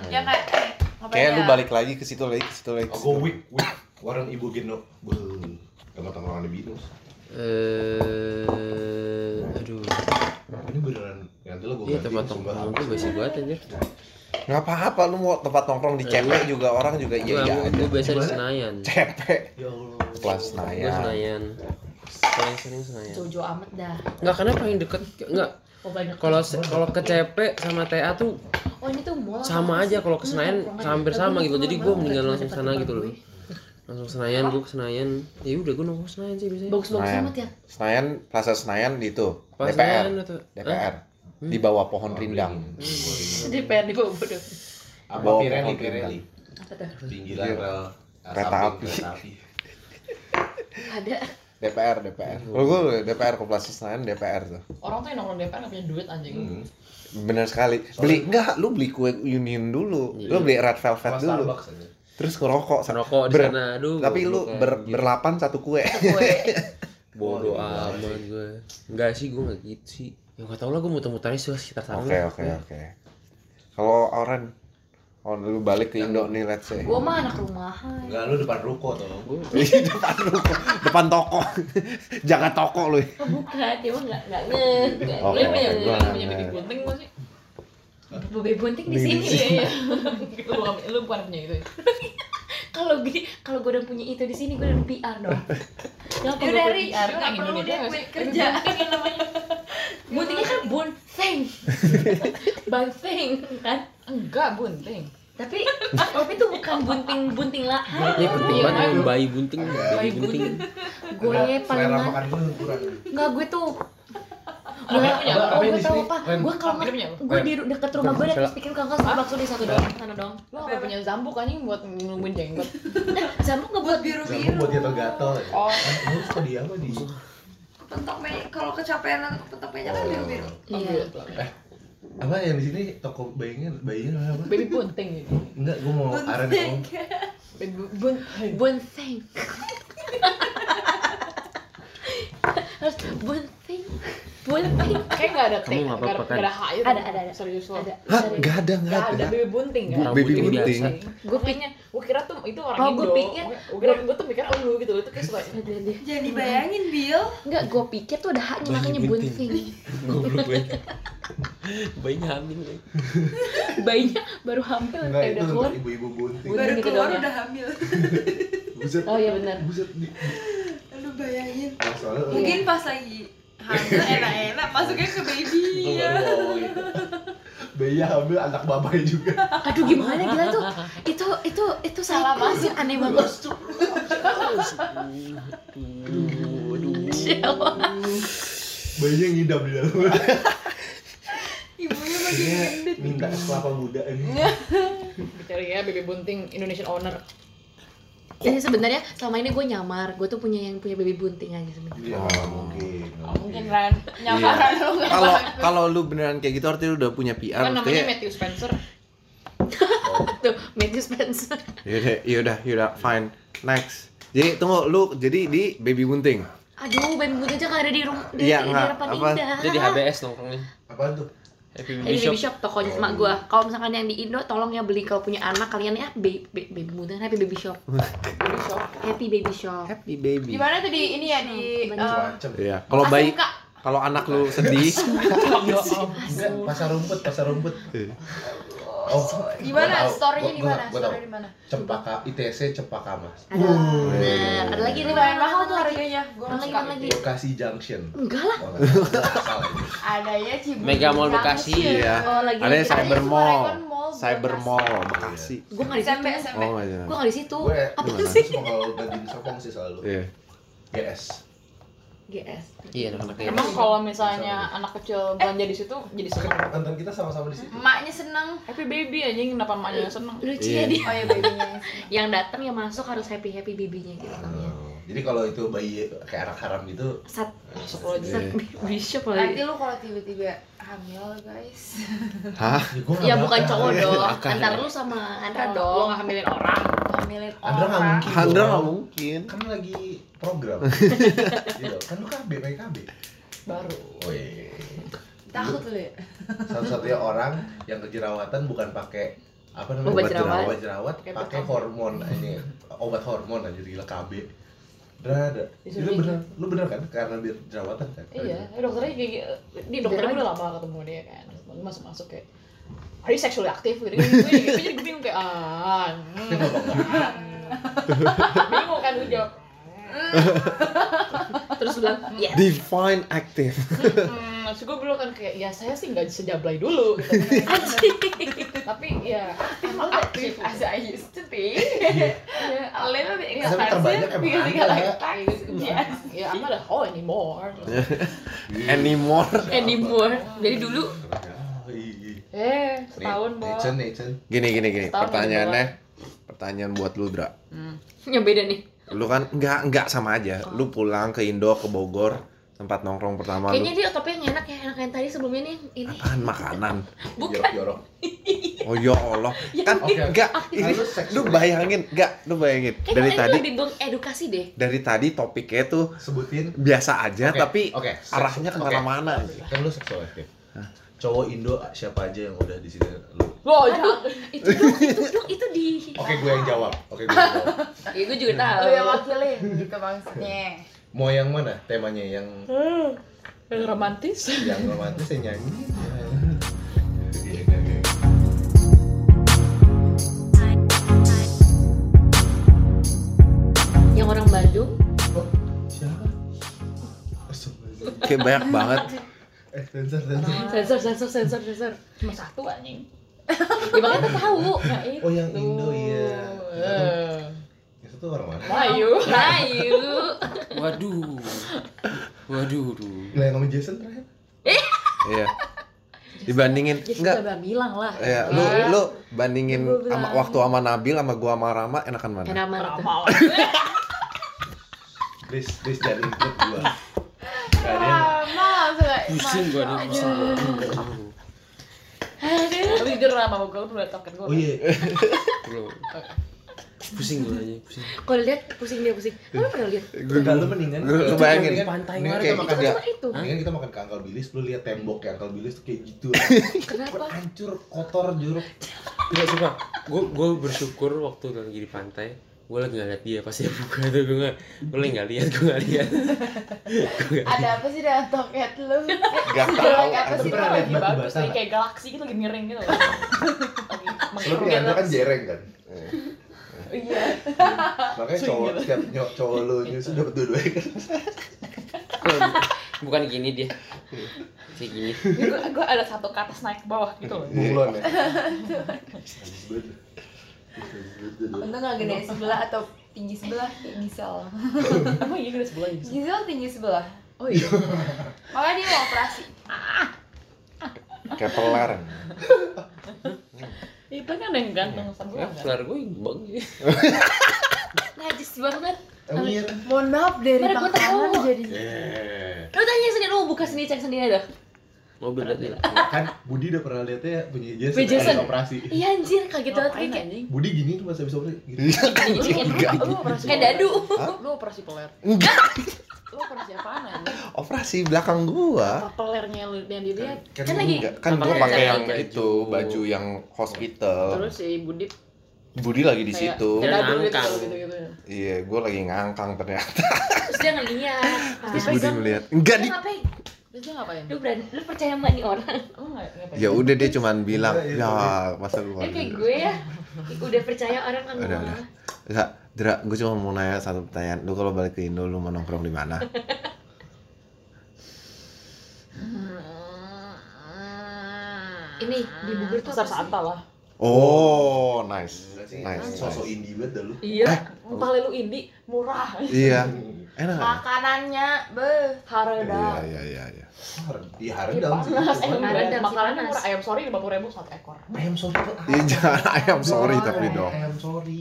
[SPEAKER 2] Yang kayak eh, ngapain
[SPEAKER 1] Iya. Kayak lu
[SPEAKER 2] ya?
[SPEAKER 1] balik lagi ke situ lagi ke situ lagi. ke
[SPEAKER 3] Aku
[SPEAKER 1] situ.
[SPEAKER 3] week week warung ibu geno. Beuh. Sama tongkrongan di binus.
[SPEAKER 5] eh aduh.
[SPEAKER 3] Ini beneran nanti lo gue
[SPEAKER 5] Iya tempat tongkrongan gue basic banget
[SPEAKER 1] Iya,
[SPEAKER 5] anjir.
[SPEAKER 1] Nggak apa-apa lu mau tempat nongkrong di CP juga orang juga iya
[SPEAKER 5] Gue
[SPEAKER 1] iya aja.
[SPEAKER 5] gue biasa di
[SPEAKER 3] Gimana?
[SPEAKER 5] Senayan.
[SPEAKER 1] CP
[SPEAKER 3] Ya Allah.
[SPEAKER 1] kelas
[SPEAKER 5] Gue
[SPEAKER 1] Senayan.
[SPEAKER 5] Senayan. Paling sering Senayan.
[SPEAKER 2] Jojo amat dah.
[SPEAKER 5] Enggak karena paling deket enggak
[SPEAKER 2] Oh banyak.
[SPEAKER 5] kalau se- kalau ke CP sama TA tuh
[SPEAKER 2] Oh ini tuh mall.
[SPEAKER 5] sama
[SPEAKER 2] apa
[SPEAKER 5] aja
[SPEAKER 2] sih?
[SPEAKER 5] kalau ke Senayan
[SPEAKER 2] Nongkrongan.
[SPEAKER 6] Hmm.
[SPEAKER 5] hampir
[SPEAKER 2] Tapi
[SPEAKER 5] sama
[SPEAKER 2] ini
[SPEAKER 5] gitu.
[SPEAKER 2] tuh
[SPEAKER 5] Jadi
[SPEAKER 2] emang
[SPEAKER 5] gue
[SPEAKER 2] bukan
[SPEAKER 5] mendingan
[SPEAKER 2] cuma
[SPEAKER 5] langsung
[SPEAKER 2] tempat
[SPEAKER 5] sana
[SPEAKER 2] tempat
[SPEAKER 5] gitu loh.
[SPEAKER 2] gue.
[SPEAKER 5] Langsung Senayan, gue ke Senayan. Ya udah gue nongkrong Senayan sih biasanya.
[SPEAKER 2] Bagus-bagus
[SPEAKER 1] Senayan.
[SPEAKER 2] amat ya.
[SPEAKER 1] Senayan Plaza Senayan di itu
[SPEAKER 5] Pas
[SPEAKER 1] DPR
[SPEAKER 5] Senayan atau- Hah?
[SPEAKER 1] DPR di bawah pohon rindang.
[SPEAKER 6] Di PR di bawah bodoh.
[SPEAKER 3] Apa
[SPEAKER 1] Bawa
[SPEAKER 3] Pirelli
[SPEAKER 1] pohon
[SPEAKER 3] Pirelli?
[SPEAKER 2] Apa tuh?
[SPEAKER 3] Pinggiran
[SPEAKER 1] Iya.
[SPEAKER 3] rel eh,
[SPEAKER 1] Kereta
[SPEAKER 3] samping
[SPEAKER 1] api.
[SPEAKER 3] kereta api.
[SPEAKER 2] Ada.
[SPEAKER 1] DPR DPR. Kalau gue DPR ke Plaza Senayan DPR tuh.
[SPEAKER 6] Orang tuh yang nongkrong DPR nggak punya duit anjing.
[SPEAKER 3] Hmm.
[SPEAKER 1] Bener sekali. Beli enggak lu beli kue Union dulu.
[SPEAKER 5] Iya.
[SPEAKER 1] Lu beli Red Velvet
[SPEAKER 3] Sama
[SPEAKER 1] dulu.
[SPEAKER 3] Starbucks aja.
[SPEAKER 1] Terus ngerokok.
[SPEAKER 5] Ngerokok di
[SPEAKER 1] Ber-
[SPEAKER 5] sana. Aduh. gitu.
[SPEAKER 1] Tapi lu
[SPEAKER 5] goblok
[SPEAKER 1] ber-
[SPEAKER 5] anjir.
[SPEAKER 1] berlapan satu kue.
[SPEAKER 2] Gue.
[SPEAKER 5] Bodo
[SPEAKER 3] Bodoh
[SPEAKER 5] amat gue. Enggak sih gue enggak gitu sih. Ya gak tau lah gue muter-muternya sih sekitar sana.
[SPEAKER 1] Oke oke oke. Kalau orang kalau lu balik ke Indo nih let's say.
[SPEAKER 2] Gue mah anak rumahan.
[SPEAKER 3] Enggak, lu depan ruko tolong.
[SPEAKER 1] Iya, Di depan lu, depan toko. Jaga toko lu.
[SPEAKER 2] Oh, Bukan, dia mah nggak nggak ngeh. Nggak
[SPEAKER 1] Oke, oke,
[SPEAKER 2] ngeh.
[SPEAKER 1] gua
[SPEAKER 6] punya punya punya
[SPEAKER 1] nggak-
[SPEAKER 6] titik gunting gak sih?
[SPEAKER 2] Bebe bunting di sini.
[SPEAKER 6] Iya iya. Lu bukan lu bukan punya itu. ya?
[SPEAKER 2] Kalau gue kalau gue udah punya itu di sini gue udah PR dong.
[SPEAKER 6] Kenapa
[SPEAKER 2] Ya
[SPEAKER 6] gue
[SPEAKER 2] udah
[SPEAKER 6] punya
[SPEAKER 2] Ri,
[SPEAKER 6] PR?
[SPEAKER 2] lu
[SPEAKER 6] Kan
[SPEAKER 2] nggak perlu
[SPEAKER 6] Indonesia
[SPEAKER 2] deh
[SPEAKER 6] nggak
[SPEAKER 2] gue
[SPEAKER 6] sih?
[SPEAKER 2] kerja ini namanya. Buntingnya kan bunting. Bunting kan.
[SPEAKER 6] Enggak bunting.
[SPEAKER 2] Tapi tapi itu bukan bunting bunting lahan.
[SPEAKER 5] Ya penting
[SPEAKER 6] Iya,
[SPEAKER 5] banget
[SPEAKER 6] kan?
[SPEAKER 5] yang bayi bunting, bayi
[SPEAKER 6] Bayi
[SPEAKER 5] bunting.
[SPEAKER 2] Gue
[SPEAKER 7] Iya,
[SPEAKER 3] Ada
[SPEAKER 2] paling
[SPEAKER 3] selera
[SPEAKER 2] mah-
[SPEAKER 3] makan gue kurang.
[SPEAKER 2] Nggak gue tuh
[SPEAKER 6] Apa
[SPEAKER 2] Gue,
[SPEAKER 6] yang punya? Apa
[SPEAKER 2] oh
[SPEAKER 6] yang
[SPEAKER 2] gue
[SPEAKER 6] di
[SPEAKER 2] tau
[SPEAKER 6] sini?
[SPEAKER 2] apa,
[SPEAKER 6] Ren,
[SPEAKER 2] gue kalau
[SPEAKER 6] apa yang punya?
[SPEAKER 2] nggak, gue di deket rumah gue ada terus pikir kakak suka bakso di satu doang, sana doang
[SPEAKER 6] Lu nggak punya zambuk anjing buat nungguin jenggot.
[SPEAKER 2] Nah, Zambu nggak buat biru
[SPEAKER 3] Kamu buat gatel-gatel ya?
[SPEAKER 6] Oh.
[SPEAKER 3] Eh, Lu suka dia apa di?
[SPEAKER 7] Pentok me- kalau kecapean atau kepentok meja kan biru-biru.
[SPEAKER 2] Iya.
[SPEAKER 3] Oh, Eh, apa yang di sini toko bayinya bayinya namanya apa?
[SPEAKER 6] Baby bunting gitu.
[SPEAKER 3] Enggak, gue mau aren dong.
[SPEAKER 6] Baby bunting.
[SPEAKER 2] Bunting. Harus bunting. Bunting.
[SPEAKER 6] Kayak nggak ada T,
[SPEAKER 5] Kamu nggak
[SPEAKER 6] nggak ada
[SPEAKER 5] apa-apa kan?
[SPEAKER 6] nggak ada H itu.
[SPEAKER 2] Ada, ada, ada.
[SPEAKER 6] Serius lo.
[SPEAKER 2] Ada.
[SPEAKER 1] Hah,
[SPEAKER 2] sorry.
[SPEAKER 1] enggak ada enggak
[SPEAKER 6] Nggak ada
[SPEAKER 1] ada.
[SPEAKER 6] baby bunting
[SPEAKER 5] Bu-
[SPEAKER 6] kan?
[SPEAKER 1] Baby
[SPEAKER 5] Bunting
[SPEAKER 1] bunting.
[SPEAKER 5] biasa.
[SPEAKER 6] Gue pikirnya, gue kira tuh itu orang
[SPEAKER 2] Oh,
[SPEAKER 6] Indo.
[SPEAKER 2] gua pikir-
[SPEAKER 6] gue kira gue tuh mikir oh lu gitu itu kayak suka
[SPEAKER 2] Ada, ada.
[SPEAKER 7] Jangan dibayangin, Bill.
[SPEAKER 2] Enggak, gue pikir tuh ada haknya
[SPEAKER 5] Bayi
[SPEAKER 2] makanya
[SPEAKER 5] bunting.
[SPEAKER 2] bunting.
[SPEAKER 5] Goblok gue. Bayinya hamil. gue.
[SPEAKER 2] Bayinya baru hamil
[SPEAKER 3] Enggak,
[SPEAKER 2] kayak
[SPEAKER 3] itu
[SPEAKER 2] udah keluar.
[SPEAKER 3] untuk ibu-ibu bunting.
[SPEAKER 2] Bunting.
[SPEAKER 7] Baru
[SPEAKER 2] gitu
[SPEAKER 7] keluar
[SPEAKER 2] doang ya?
[SPEAKER 7] udah hamil.
[SPEAKER 3] Buset.
[SPEAKER 6] Oh iya benar.
[SPEAKER 3] Buset di.
[SPEAKER 7] Aduh, bayangin.
[SPEAKER 3] Oh, soalnya
[SPEAKER 2] Iya.
[SPEAKER 3] lu-
[SPEAKER 7] Mungkin pas lagi hamil enak-enak masuknya ke baby
[SPEAKER 3] lu
[SPEAKER 7] ya.
[SPEAKER 3] baru ngomong gitu. Bayi hamil anak babai juga.
[SPEAKER 2] Aduh gimana gila tuh. Itu itu itu salah masuk aneh banget.
[SPEAKER 5] Aduh, aduh.
[SPEAKER 3] Bayinya ngidam di dalam.
[SPEAKER 7] Ibunya makin
[SPEAKER 3] Kayaknya
[SPEAKER 7] gendut.
[SPEAKER 3] minta es kelapa muda ini.
[SPEAKER 6] Dicari ya baby bunting Indonesian owner.
[SPEAKER 2] Jadi sebenarnya selama ini gue nyamar, gue tuh punya yang punya baby bunting aja sebenarnya.
[SPEAKER 3] Iya, nggak mungkin. nggak
[SPEAKER 6] Mungkin Ren nyamaran lu nggak
[SPEAKER 1] Kalau kalau lu beneran kayak gitu artinya lu udah punya
[SPEAKER 6] kan
[SPEAKER 1] PR
[SPEAKER 6] namanya
[SPEAKER 1] artinya.
[SPEAKER 6] Matthew Spencer.
[SPEAKER 2] Tuh, Matthew Spencer.
[SPEAKER 1] Yaudah, yaudah, yaudah, ya fine. Next. Jadi tunggu lu jadi di baby bunting.
[SPEAKER 2] Aduh, baby bunting aja gak ada di rumah di,
[SPEAKER 1] Iya,
[SPEAKER 2] di
[SPEAKER 1] nggak,
[SPEAKER 2] harapan
[SPEAKER 1] apa,
[SPEAKER 2] indah.
[SPEAKER 5] Dia di HBS nongkrongnya.
[SPEAKER 3] Apaan tuh?
[SPEAKER 5] Happy
[SPEAKER 2] Di
[SPEAKER 5] Baby Shop.
[SPEAKER 2] baby shop tokonya
[SPEAKER 1] Oh.
[SPEAKER 2] emak gue. Kalau misalkan yang di Indo, tolong ya beli kalau punya anak kalian ya baby baby bunting, happy baby shop,
[SPEAKER 6] Baby shop.
[SPEAKER 2] happy baby shop.
[SPEAKER 1] Happy baby.
[SPEAKER 7] Gimana tuh di ini ya di
[SPEAKER 2] Hmm,
[SPEAKER 7] eh,
[SPEAKER 3] Macam.
[SPEAKER 1] Iya. Kalau bayi
[SPEAKER 7] SMK?
[SPEAKER 1] kalau anak lu sedih,
[SPEAKER 3] Enggak, Ya pasar rumput, pasar rumput. Oh,
[SPEAKER 7] di mana?
[SPEAKER 3] gua tahu.
[SPEAKER 7] Store-nya
[SPEAKER 3] Gua-
[SPEAKER 7] di
[SPEAKER 3] gua-
[SPEAKER 7] mana?
[SPEAKER 3] gua
[SPEAKER 7] Store-nya
[SPEAKER 3] tahu.
[SPEAKER 7] di mana?
[SPEAKER 3] Cempaka ITC Cempaka Mas.
[SPEAKER 2] Ada,
[SPEAKER 1] Uh.
[SPEAKER 2] nah, ada lagi
[SPEAKER 7] Ini
[SPEAKER 2] nih
[SPEAKER 7] lumayan mahal
[SPEAKER 2] satu
[SPEAKER 7] tuh
[SPEAKER 2] lagi.
[SPEAKER 7] harganya. Gua
[SPEAKER 2] Mana
[SPEAKER 7] nggak
[SPEAKER 2] lagi,
[SPEAKER 7] suka.
[SPEAKER 2] mana lagi?
[SPEAKER 3] Bekasi Junction.
[SPEAKER 2] Enggak lah.
[SPEAKER 3] Oh, nggak salah, salah.
[SPEAKER 7] Adanya Cibubur.
[SPEAKER 5] Mega Mall Bekasi.
[SPEAKER 1] Iya.
[SPEAKER 2] Oh, lagi
[SPEAKER 1] ada
[SPEAKER 2] lagi-
[SPEAKER 1] cyber
[SPEAKER 7] Sukarelawan
[SPEAKER 1] mall,
[SPEAKER 7] Mall
[SPEAKER 1] cyber
[SPEAKER 7] Bekasi.
[SPEAKER 1] mall Bekasi.
[SPEAKER 2] Gue nggak di
[SPEAKER 7] SMP
[SPEAKER 2] situ.
[SPEAKER 7] SMP.
[SPEAKER 1] Oh, enggak
[SPEAKER 2] Gue nggak di situ.
[SPEAKER 3] Gue
[SPEAKER 2] Apa
[SPEAKER 1] gimana?
[SPEAKER 2] sih?
[SPEAKER 3] gue cuma kalau banding sokong sih selalu.
[SPEAKER 1] Iya.
[SPEAKER 3] GS.
[SPEAKER 2] GS.
[SPEAKER 5] Iya, anak-anak dia.
[SPEAKER 6] Emang kalau misalnya anak kecil belanja di situ jadi seneng.
[SPEAKER 3] Nonton kita sama-sama di situ.
[SPEAKER 7] Emaknya seneng.
[SPEAKER 6] Happy baby anjing kenapa emaknya seneng?
[SPEAKER 2] Lucu
[SPEAKER 1] Iya.
[SPEAKER 2] ya dia.
[SPEAKER 7] Oh ya babynya. yang seneng.
[SPEAKER 2] Yang datang yang masuk harus happy happy babynya gitu kan ya.
[SPEAKER 3] Oh, Jadi kalau itu bayi kayak anak haram gitu,
[SPEAKER 2] Sat
[SPEAKER 6] Masuk lo aja.
[SPEAKER 2] sat baby shop
[SPEAKER 7] Nanti
[SPEAKER 2] lagi.
[SPEAKER 7] lu kalau tiba-tiba
[SPEAKER 6] hamil guys
[SPEAKER 1] Hah?
[SPEAKER 2] Ya bukan cowok
[SPEAKER 1] Iya.
[SPEAKER 2] dong.
[SPEAKER 1] Makan.
[SPEAKER 2] Antara lu sama Andra
[SPEAKER 6] Kalau
[SPEAKER 2] dong.
[SPEAKER 6] lo nggak hamilin orang hamilin
[SPEAKER 3] Andra nggak
[SPEAKER 6] orang
[SPEAKER 3] mungkin.
[SPEAKER 1] Handra nggak mungkin.
[SPEAKER 3] Kan lagi program. gitu. Kan lu KB, PKB.
[SPEAKER 6] baru
[SPEAKER 3] Woi.
[SPEAKER 6] takut lu ya
[SPEAKER 3] Satu-satunya orang yang kejerawatan bukan pakai apa namanya?
[SPEAKER 2] Obat jerawat.
[SPEAKER 3] Obat jerawat,
[SPEAKER 6] Pakai
[SPEAKER 3] pakai
[SPEAKER 6] PKB.
[SPEAKER 3] hormon Nah, ini. Obat hormon aja gila KB. Bener ada.
[SPEAKER 6] Disuruh
[SPEAKER 3] Itu
[SPEAKER 6] gigi.
[SPEAKER 3] bener, lu bener kan karena biar jerawatan kan?
[SPEAKER 6] iya eh, dokternya kayak gitu di dokternya gue udah lama gak ketemu dia kan Terus masuk masuk kayak are you sexually active gitu gue jadi gue jadi bingung kayak ah mm, bingung kan gue jawab
[SPEAKER 2] Terus lu bilang, "Ya,
[SPEAKER 1] Define active.
[SPEAKER 6] hmm, terus gue bilang kan kayak ya saya sih nggak sejablay dulu gitu. tapi ya aktif aktif
[SPEAKER 4] As I used to be. Iya.
[SPEAKER 6] Ya,
[SPEAKER 4] A little bit
[SPEAKER 3] Tapi
[SPEAKER 4] expensive
[SPEAKER 3] terbanyak
[SPEAKER 4] Iya.
[SPEAKER 3] emang
[SPEAKER 4] because I
[SPEAKER 3] ada.
[SPEAKER 4] got like tax. Yes.
[SPEAKER 6] ya Iya. I'm not a hoe anymore
[SPEAKER 4] Iya.
[SPEAKER 1] Anymore.
[SPEAKER 2] Eh, anymore." Jadi dulu
[SPEAKER 6] eh setahun bos
[SPEAKER 3] Nathan, Nathan.
[SPEAKER 1] Gini gini gini.
[SPEAKER 6] Setahun
[SPEAKER 1] Pertanyaannya, pertanyaan buat lu Dra.
[SPEAKER 2] yang beda nih.
[SPEAKER 1] Lu kan nggak nggak sama aja. Lu pulang ke Indo ke Bogor tempat nongkrong pertama
[SPEAKER 2] Kayaknya
[SPEAKER 1] lu.
[SPEAKER 2] dia otopnya yang enak ya, enak yang tadi sebelumnya nih. Ini
[SPEAKER 1] Apaan makanan?
[SPEAKER 2] Bukan.
[SPEAKER 3] Jorok-jorok.
[SPEAKER 1] Oh ya Allah. Kan
[SPEAKER 3] Oke, oke.
[SPEAKER 1] nggak
[SPEAKER 3] Nah,
[SPEAKER 1] ini
[SPEAKER 3] lu seks
[SPEAKER 1] lu bayangin nggak lu bayangin
[SPEAKER 2] kayaknya
[SPEAKER 1] dari
[SPEAKER 2] tadi
[SPEAKER 1] tadi
[SPEAKER 2] lu lebih mengedukasi deh.
[SPEAKER 1] dari tadi topiknya tuh
[SPEAKER 3] sebutin
[SPEAKER 1] biasa
[SPEAKER 2] Nah,
[SPEAKER 1] aja
[SPEAKER 3] Oke,
[SPEAKER 1] tapi
[SPEAKER 3] oke.
[SPEAKER 1] arahnya
[SPEAKER 3] Oke.
[SPEAKER 1] kemana-mana
[SPEAKER 3] kan lu seksual aktif cowok Indo siapa aja yang udah di sini lu
[SPEAKER 6] Wah,
[SPEAKER 2] Aduh,
[SPEAKER 6] jangan.
[SPEAKER 2] itu dong, itu dong, itu di.
[SPEAKER 3] oke gue yang jawab oke gue yang jawab
[SPEAKER 2] Ya, gue juga tahu.
[SPEAKER 6] Oh, iya,
[SPEAKER 4] Lu yang wakilin gitu maksudnya.
[SPEAKER 3] mau yang mana temanya yang
[SPEAKER 6] Yang romantis
[SPEAKER 3] yang romantis yang nyanyi Iya,
[SPEAKER 2] Yang orang Bandung,
[SPEAKER 3] Oh, siapa? Astagfirullahaladzim.
[SPEAKER 1] kayak banyak banget
[SPEAKER 3] Eh, sensor, sensor.
[SPEAKER 6] sensor sensor sensor sensor cuma satu anjing ya makanya tuh tahu nah, itu.
[SPEAKER 3] Oh, yang Indo, iya.
[SPEAKER 6] Eh.
[SPEAKER 3] Yang satu orang mana?
[SPEAKER 6] Melayu
[SPEAKER 2] Melayu.
[SPEAKER 5] Waduh. Waduh. duh.
[SPEAKER 3] Gila yang sama Jason terakhir?
[SPEAKER 1] iya dibandingin
[SPEAKER 6] jadi
[SPEAKER 1] enggak
[SPEAKER 6] udah bilang lah
[SPEAKER 1] Iya, lu lu bandingin sama waktu sama Nabil sama gua sama Rama enakan mana?
[SPEAKER 2] Enak banget. tuh.
[SPEAKER 6] ramal
[SPEAKER 3] Please, please jangan include gua. Gak ada yang
[SPEAKER 4] Mama suka.
[SPEAKER 5] Pusing gua nih, pusing. Aduh.
[SPEAKER 6] tapi jujur lah sama gue udah tau kan gue
[SPEAKER 3] Oh iya,
[SPEAKER 5] Bro. Pusing gua aja, pusing.
[SPEAKER 2] Kalau lihat pusing dia pusing. Lu pernah lihat?
[SPEAKER 3] udah lu mendingan
[SPEAKER 1] Lu- lu
[SPEAKER 3] Mendingan-
[SPEAKER 1] bayangin.
[SPEAKER 5] Pantai
[SPEAKER 3] mendingan
[SPEAKER 5] kemarin
[SPEAKER 3] kita
[SPEAKER 5] sama
[SPEAKER 3] makan
[SPEAKER 2] Cuma itu.
[SPEAKER 3] Mendingan kita makan ke Uncle Billy's, lu lihat tembok ya Uncle Billy's tuh kayak gitu.
[SPEAKER 2] Kenapa?
[SPEAKER 3] Hancur, kotor, jeruk.
[SPEAKER 5] Enggak suka. Gua gua bersyukur waktu lagi di pantai gua lagi nggak liat dia pas dia buka tuh gua nggak gua lagi nggak liat gua nggak liat Gua nggak liat.
[SPEAKER 4] Ada apa sih dalam toket lu?
[SPEAKER 1] Gak tahu.
[SPEAKER 4] Jelek apa
[SPEAKER 3] Tapi
[SPEAKER 4] sih
[SPEAKER 3] pernah
[SPEAKER 4] lu?
[SPEAKER 3] lihat
[SPEAKER 6] lagi
[SPEAKER 3] batu
[SPEAKER 6] bagus
[SPEAKER 3] bata
[SPEAKER 6] lagi
[SPEAKER 3] nggak?
[SPEAKER 6] kayak galaksi gitu lagi miring gitu Lagi
[SPEAKER 3] Lu punya Anda kan jereng kan?
[SPEAKER 6] iya
[SPEAKER 3] Makanya cowok setiap nyok cowok lu
[SPEAKER 2] Iya.
[SPEAKER 3] nyusu dapat dua-duanya kan.
[SPEAKER 5] bukan gini dia kayak gini
[SPEAKER 6] gue gue ada satu ke atas naik ke bawah gitu loh
[SPEAKER 3] Bunglon ya. Habis banget. Habis banget dua-duanya.
[SPEAKER 4] Untung gak gede sebelah atau tinggi sebelah kayak Gisel.
[SPEAKER 6] emang iya dari sebelah gitu
[SPEAKER 4] Gisel tinggi sebelah.
[SPEAKER 6] oh iya
[SPEAKER 4] Makanya dia mau operasi.
[SPEAKER 1] Kayak pelar.
[SPEAKER 6] itu kan ada yang ganteng sama gue
[SPEAKER 5] ya
[SPEAKER 6] kan
[SPEAKER 5] flare gua bang
[SPEAKER 2] Najis banget.
[SPEAKER 3] Emang iya kan?
[SPEAKER 4] Mohon maaf dari
[SPEAKER 2] Mana gua
[SPEAKER 4] makanan
[SPEAKER 2] tahu.
[SPEAKER 4] jadi
[SPEAKER 3] Eh,
[SPEAKER 2] Lu tanya sendiri, lu buka sendiri cek sendiri dah.
[SPEAKER 5] mobil tadi
[SPEAKER 3] Kan Budi udah pernah lihatnya punya Jason,
[SPEAKER 2] Punya Jason.
[SPEAKER 3] ada operasi.
[SPEAKER 2] Iya anjir, kaget banget
[SPEAKER 6] Ngapain,
[SPEAKER 2] kayak
[SPEAKER 6] anjing?
[SPEAKER 3] Budi gini cuma habis operasi gitu.
[SPEAKER 1] Enggak.
[SPEAKER 6] Lu operasi
[SPEAKER 2] kayak
[SPEAKER 6] peler.
[SPEAKER 2] dadu.
[SPEAKER 6] Lu operasi peler
[SPEAKER 1] Enggak.
[SPEAKER 6] Lu operasi apaan anjing?
[SPEAKER 1] Operasi belakang gua.
[SPEAKER 6] Apa pelernya lu yang dilihat?
[SPEAKER 2] Kan lagi
[SPEAKER 1] Enggak, kan gua
[SPEAKER 5] Pakai
[SPEAKER 1] pakai
[SPEAKER 5] baju.
[SPEAKER 1] yang itu, baju yang hospital.
[SPEAKER 6] Terus si Budit
[SPEAKER 1] Budi lagi di
[SPEAKER 6] kayak
[SPEAKER 1] situ.
[SPEAKER 5] Dia
[SPEAKER 6] kayak dadu gitu,
[SPEAKER 5] ngangkang.
[SPEAKER 6] gitu-gitu.
[SPEAKER 1] Iya, gua lagi ngangkang ternyata.
[SPEAKER 2] terus dia ngeliat.
[SPEAKER 1] Terus Budi melihat. Enggak di.
[SPEAKER 2] Dia ngapain?
[SPEAKER 6] Terus dia ngapain?
[SPEAKER 2] Lu berani, lu percaya sama nih orang?
[SPEAKER 6] Lu nggak- ngapain?
[SPEAKER 1] Ya udah dia cuman bilang,
[SPEAKER 3] Iya, iya,
[SPEAKER 1] "Ya, masa gua."
[SPEAKER 2] Dia kayak gue ya. Udah percaya orang kan.
[SPEAKER 1] Udah, udah. Enggak, Dra, gue cuma mau nanya satu pertanyaan. Lu kalau balik ke Indo, lu mau nongkrong di mana?
[SPEAKER 2] Ini di Bogor
[SPEAKER 6] Nah,
[SPEAKER 2] tuh
[SPEAKER 6] Pasar
[SPEAKER 2] apa sih?
[SPEAKER 6] Santa lah.
[SPEAKER 1] Oh, nice.
[SPEAKER 3] Enggak sih,
[SPEAKER 1] Nice.
[SPEAKER 3] Sosok indie banget dah lu.
[SPEAKER 6] Iya, empale lu indi murah.
[SPEAKER 1] Iya. Enak. nggak?
[SPEAKER 4] makanannya be.
[SPEAKER 1] Iya,
[SPEAKER 6] Harga
[SPEAKER 1] iya, iya, iya.
[SPEAKER 3] Di
[SPEAKER 6] Iya,
[SPEAKER 3] Haredam sih.
[SPEAKER 6] panas,
[SPEAKER 3] cuman-
[SPEAKER 6] emang
[SPEAKER 2] Harga
[SPEAKER 6] makanannya
[SPEAKER 2] panas.
[SPEAKER 6] murah. Ayam sorry lima ribu satu ekor.
[SPEAKER 3] Ayam sorry tuh
[SPEAKER 1] Iya, jangan ayam sorry tapi
[SPEAKER 3] Ayam
[SPEAKER 1] dong.
[SPEAKER 3] Ayam sorry.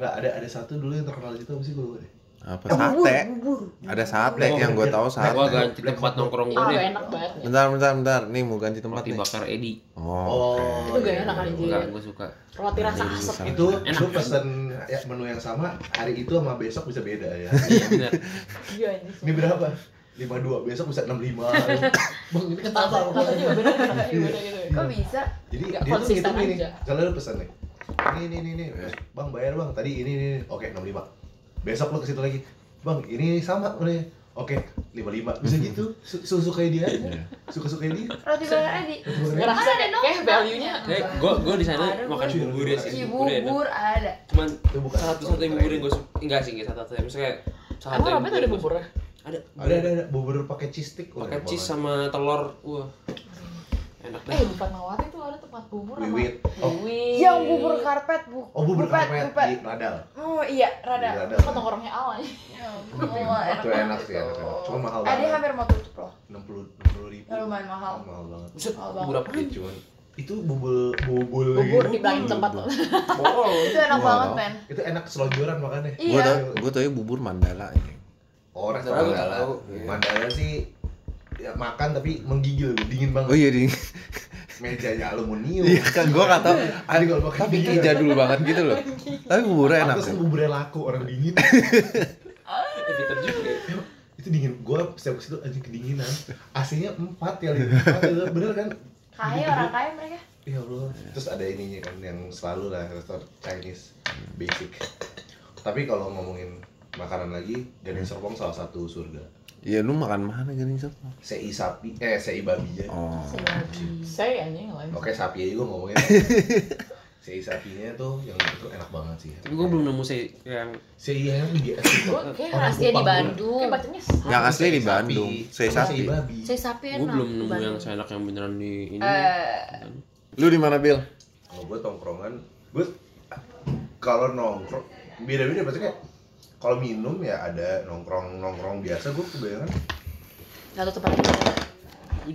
[SPEAKER 3] Enggak ada ada satu dulu yang terkenal gitu apa sih gue lupa deh.
[SPEAKER 1] Apa
[SPEAKER 7] Bubur,
[SPEAKER 1] sate?
[SPEAKER 7] bubur.
[SPEAKER 1] Ada sate
[SPEAKER 5] Oh,
[SPEAKER 1] yang gue tahu
[SPEAKER 5] Gua
[SPEAKER 1] sate.
[SPEAKER 5] ganti tempat nongkrong gue
[SPEAKER 6] Ah,
[SPEAKER 5] deh.
[SPEAKER 6] gak enak banget. ya.
[SPEAKER 1] Bentar, bentar, bentar. Nih mau ganti tempat
[SPEAKER 5] Roti
[SPEAKER 1] nih.
[SPEAKER 5] bakar Edi.
[SPEAKER 1] Oh.
[SPEAKER 6] Itu gak enak
[SPEAKER 1] iya.
[SPEAKER 6] anjir.
[SPEAKER 5] Enggak, gue suka.
[SPEAKER 6] Roti rasa
[SPEAKER 1] Ini
[SPEAKER 6] asap.
[SPEAKER 1] bisa.
[SPEAKER 3] itu
[SPEAKER 5] Enak.
[SPEAKER 3] lu pesen ya, menu yang sama hari itu sama besok bisa beda ya
[SPEAKER 5] Iya benar.
[SPEAKER 6] Iya anjir.
[SPEAKER 3] ini berapa 52, besok bisa 65 bang ini kan tambah
[SPEAKER 6] Rasanya rasanya juga beda, rasanya juga beda gitu.
[SPEAKER 2] Kok bisa?
[SPEAKER 3] jadi
[SPEAKER 6] nggak
[SPEAKER 3] dia tuh
[SPEAKER 6] konsisten
[SPEAKER 3] ngitung gini
[SPEAKER 6] aja.
[SPEAKER 3] kalau lu pesen nih ini ini ini, ini. Terus, bang bayar bang tadi ini ini, ini. oke 65 besok lu ke situ lagi bang ini sama udah oke 55 bisa gitu suka suka dia aja suka suka dia
[SPEAKER 7] Roti bakar Edi.
[SPEAKER 6] Ngerasa
[SPEAKER 7] Ada
[SPEAKER 6] kayak
[SPEAKER 7] dong.
[SPEAKER 6] kayak value-nya.
[SPEAKER 5] Kayak gue gue Eh, di sana
[SPEAKER 7] Ada
[SPEAKER 5] makan
[SPEAKER 3] gua.
[SPEAKER 5] bubur ya sih. Bubur enak.
[SPEAKER 7] Cibubur ada.
[SPEAKER 5] Cuman
[SPEAKER 3] itu bukan
[SPEAKER 5] satu satu yang bubur yang gue suka. Enggak sih, enggak satu satu. Maksudnya kayak satu
[SPEAKER 6] Emang
[SPEAKER 5] yang
[SPEAKER 6] ramen ada ya?
[SPEAKER 5] yang gua
[SPEAKER 6] buburnya?
[SPEAKER 5] suka. Ada.
[SPEAKER 3] ada ada ada bubur pakai cheese stick wah,
[SPEAKER 5] Pakai
[SPEAKER 3] enak
[SPEAKER 5] cheese
[SPEAKER 3] banget.
[SPEAKER 5] sama telur. Wah. Enak
[SPEAKER 6] Eh,
[SPEAKER 5] deh.
[SPEAKER 6] di Fatmawati tuh ada tempat bubur sama
[SPEAKER 3] wiwit oh
[SPEAKER 6] Wiwit.
[SPEAKER 7] Yang bubur karpet bu.
[SPEAKER 3] oh bubur
[SPEAKER 7] Bupet,
[SPEAKER 3] karpet
[SPEAKER 7] bupet.
[SPEAKER 3] di radal
[SPEAKER 7] Oh iya,
[SPEAKER 3] Di
[SPEAKER 7] rada.
[SPEAKER 3] radal
[SPEAKER 6] Tempat nongkrongnya awal ya.
[SPEAKER 7] Oh, enak
[SPEAKER 3] itu enak sih enak enak cuma mahal
[SPEAKER 7] Eh, dia
[SPEAKER 3] banget
[SPEAKER 7] hampir mau tutup loh.
[SPEAKER 3] enam puluh enam puluh ribu
[SPEAKER 7] Ya, lumayan mahal.
[SPEAKER 3] mahal banget
[SPEAKER 5] Buset, ya.
[SPEAKER 7] Oh, bang.
[SPEAKER 5] bubur apa?
[SPEAKER 3] Iya, cuman itu bubul bubul
[SPEAKER 6] Bubur
[SPEAKER 3] gitu.
[SPEAKER 6] dibilangin tempat
[SPEAKER 3] Bubul.
[SPEAKER 6] loh.
[SPEAKER 5] Botol.
[SPEAKER 7] Itu enak
[SPEAKER 1] Wow.
[SPEAKER 7] banget men.
[SPEAKER 3] itu enak selonjoran makannya
[SPEAKER 1] Gue
[SPEAKER 7] Iya.
[SPEAKER 1] tau, gue tau bubur mandala ya. ini.
[SPEAKER 3] oh
[SPEAKER 5] Mandala
[SPEAKER 3] restoran
[SPEAKER 5] gua
[SPEAKER 3] mandala
[SPEAKER 5] tahu, iya.
[SPEAKER 3] mandala sih ya, makan tapi menggigil dingin
[SPEAKER 1] Oh
[SPEAKER 3] banget
[SPEAKER 1] iya ding.
[SPEAKER 3] mejanya aluminium
[SPEAKER 1] Iya kan gue nggak tahu.
[SPEAKER 3] Jadi kalau makan
[SPEAKER 1] Tapi
[SPEAKER 3] dingin,
[SPEAKER 1] kayak jadul banget gitu loh. Tapi buburnya enak.
[SPEAKER 3] pantes
[SPEAKER 1] kan?
[SPEAKER 3] buburnya laku orang dingin
[SPEAKER 5] Eh, Peter juga.
[SPEAKER 3] itu dingin gue setiap ke situ aja kedinginan AC-nya empat kali Empat, bener kan
[SPEAKER 7] Kaya orang kaya mereka.
[SPEAKER 3] Ya Allah. Terus ada ininya kan yang selalu lah restoran Chinese basic. Tapi kalau ngomongin makanan lagi, Gading Serpong salah satu surga.
[SPEAKER 1] Iya lu makan mana gini Oh. sih?
[SPEAKER 3] CI sapi, eh CI babi aja.
[SPEAKER 1] Oh.
[SPEAKER 6] Saya anjing lain.
[SPEAKER 3] Oke, sapi aja gue ngomongin. CI sapinya tuh yang itu enak banget sih.
[SPEAKER 5] Tapi gue belum nemu sih yang
[SPEAKER 3] CI yang di GSI
[SPEAKER 6] Gue
[SPEAKER 3] kok.
[SPEAKER 6] kayak
[SPEAKER 3] Orang
[SPEAKER 6] rasanya di
[SPEAKER 3] Kupang
[SPEAKER 6] Bandung. Kayak
[SPEAKER 2] Bandung.
[SPEAKER 6] bacanya s-
[SPEAKER 1] Yang asli di
[SPEAKER 3] sapi,
[SPEAKER 1] Bandung. Saya
[SPEAKER 3] sama
[SPEAKER 1] sapi.
[SPEAKER 3] CI babi.
[SPEAKER 2] Saya sapi
[SPEAKER 5] gue
[SPEAKER 2] enak.
[SPEAKER 5] belum nemu
[SPEAKER 2] Bandung.
[SPEAKER 5] yang seenak yang beneran di ini.
[SPEAKER 1] Lu di mana Bill?
[SPEAKER 3] Kalau gue tongkrongan, gue kalau nongkrong beda-beda berarti kayak kalau minum ya ada nongkrong-nongkrong biasa gue kebanyakan
[SPEAKER 2] Gak tau tempat itu.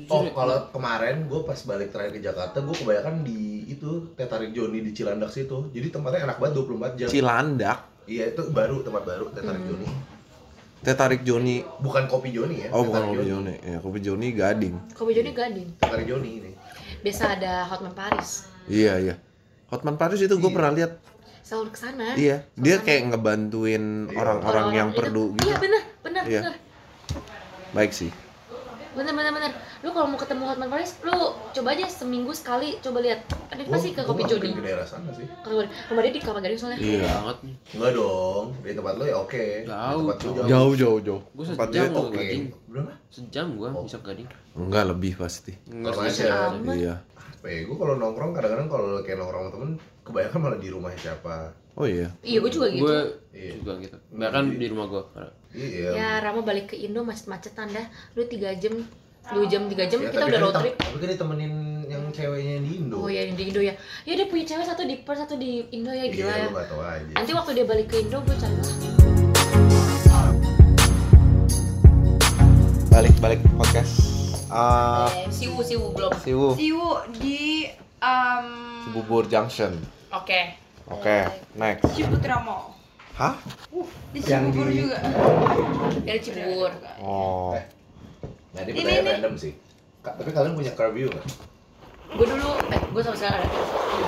[SPEAKER 3] Oh,
[SPEAKER 1] ya.
[SPEAKER 3] kalau kemarin gue pas balik terakhir ke Jakarta, gue kebanyakan di itu teh tarik Joni di Cilandak situ. Jadi tempatnya enak banget 24 jam.
[SPEAKER 1] Cilandak.
[SPEAKER 3] iya, itu baru tempat baru teh
[SPEAKER 1] Hmm.
[SPEAKER 3] tarik Joni.
[SPEAKER 1] Teh tarik Joni.
[SPEAKER 3] Bukan kopi Joni ya.
[SPEAKER 1] Oh
[SPEAKER 3] Teh
[SPEAKER 1] bukan
[SPEAKER 3] Tarik
[SPEAKER 1] kopi Joni. Ya kopi Joni Gading.
[SPEAKER 2] Kopi Joni gading.
[SPEAKER 3] Teh tarik Joni ini.
[SPEAKER 2] Biasa ada Hotman Paris.
[SPEAKER 1] Iya iya. Hotman Paris itu gue
[SPEAKER 3] Iya.
[SPEAKER 1] pernah lihat.
[SPEAKER 2] Selalu kesana.
[SPEAKER 1] Iya. Dia
[SPEAKER 2] Hotman.
[SPEAKER 1] kayak ngebantuin
[SPEAKER 3] Iya.
[SPEAKER 1] orang-orang yang
[SPEAKER 2] itu.
[SPEAKER 1] perlu gitu.
[SPEAKER 2] Iya benar, benar,
[SPEAKER 1] Iya.
[SPEAKER 2] benar.
[SPEAKER 1] Baik sih.
[SPEAKER 2] Bener bener bener. Lu kalau mau ketemu Hotman Paris, lu coba aja seminggu sekali coba lihat. Ada
[SPEAKER 1] Oh,
[SPEAKER 3] Gua-
[SPEAKER 2] pasti ke
[SPEAKER 3] gua
[SPEAKER 2] Kopi
[SPEAKER 3] nggak
[SPEAKER 2] Joni.
[SPEAKER 3] mungkin Ke daerah sana sih.
[SPEAKER 2] Ke Rumah rumah dia di Kelapa Gading soalnya.
[SPEAKER 1] Iya.
[SPEAKER 5] banget nih.
[SPEAKER 3] Enggak dong, dari tempat lo ya oke. Dari
[SPEAKER 5] Jauh,
[SPEAKER 3] tempat lo
[SPEAKER 5] jauh.
[SPEAKER 1] Jauh jauh jauh.
[SPEAKER 5] Gue
[SPEAKER 1] Tempat
[SPEAKER 5] sejam
[SPEAKER 1] dia
[SPEAKER 5] gue
[SPEAKER 3] Oke.
[SPEAKER 5] gading.
[SPEAKER 3] Berapa?
[SPEAKER 5] Sejam gue
[SPEAKER 3] gitu. Oh.
[SPEAKER 5] bisa gading.
[SPEAKER 1] Enggak lebih pasti.
[SPEAKER 5] Nggak
[SPEAKER 3] Kalau
[SPEAKER 5] sejam.
[SPEAKER 3] aja.
[SPEAKER 2] Aman.
[SPEAKER 1] Iya.
[SPEAKER 3] Eh, gue kalau nongkrong kadang-kadang kalau kayak nongkrong sama temen, kebanyakan malah di rumah siapa.
[SPEAKER 1] Oh iya.
[SPEAKER 2] Iya, gue juga gitu.
[SPEAKER 5] Gue
[SPEAKER 3] Iya.
[SPEAKER 5] juga gitu. Bahkan
[SPEAKER 3] Iya.
[SPEAKER 5] di rumah gue.
[SPEAKER 3] Iya.
[SPEAKER 2] Ya, Rama balik ke Indo macet-macetan dah. Lu 3 jam, 2 jam, 3 jam
[SPEAKER 1] Iya,
[SPEAKER 3] Ya,
[SPEAKER 2] kita
[SPEAKER 3] tapi
[SPEAKER 2] udah
[SPEAKER 3] kan
[SPEAKER 2] road
[SPEAKER 3] tem-
[SPEAKER 2] trip.
[SPEAKER 3] Tapi kan ditemenin yang ceweknya di Indo.
[SPEAKER 2] Oh ya di Indo ya. Ya dia punya cewek satu di Perth, satu di Indo ya gila
[SPEAKER 3] Iya,
[SPEAKER 2] ya.
[SPEAKER 3] lu nggak tahu aja.
[SPEAKER 2] Nanti waktu dia balik ke Indo gue cari lah.
[SPEAKER 1] Balik balik podcast. Ah.
[SPEAKER 2] Eh, siwu siwu belum.
[SPEAKER 1] Siwu.
[SPEAKER 7] Siwu di um,
[SPEAKER 1] Bubur Junction.
[SPEAKER 7] Oke.
[SPEAKER 1] Oke. Next.
[SPEAKER 7] Ciputra Mall.
[SPEAKER 1] Hah?
[SPEAKER 7] Di
[SPEAKER 3] Yang
[SPEAKER 7] Cibubur
[SPEAKER 3] di-
[SPEAKER 7] juga.
[SPEAKER 6] Iya,
[SPEAKER 2] Dari Cibubur.
[SPEAKER 1] Oh.
[SPEAKER 3] Nah, ini
[SPEAKER 7] Ini,
[SPEAKER 3] pertanyaan
[SPEAKER 7] ini.
[SPEAKER 3] random sih. Ka- Tapi kalian punya curfew nggak?
[SPEAKER 2] Gue dulu, eh gue sama sekarang ada.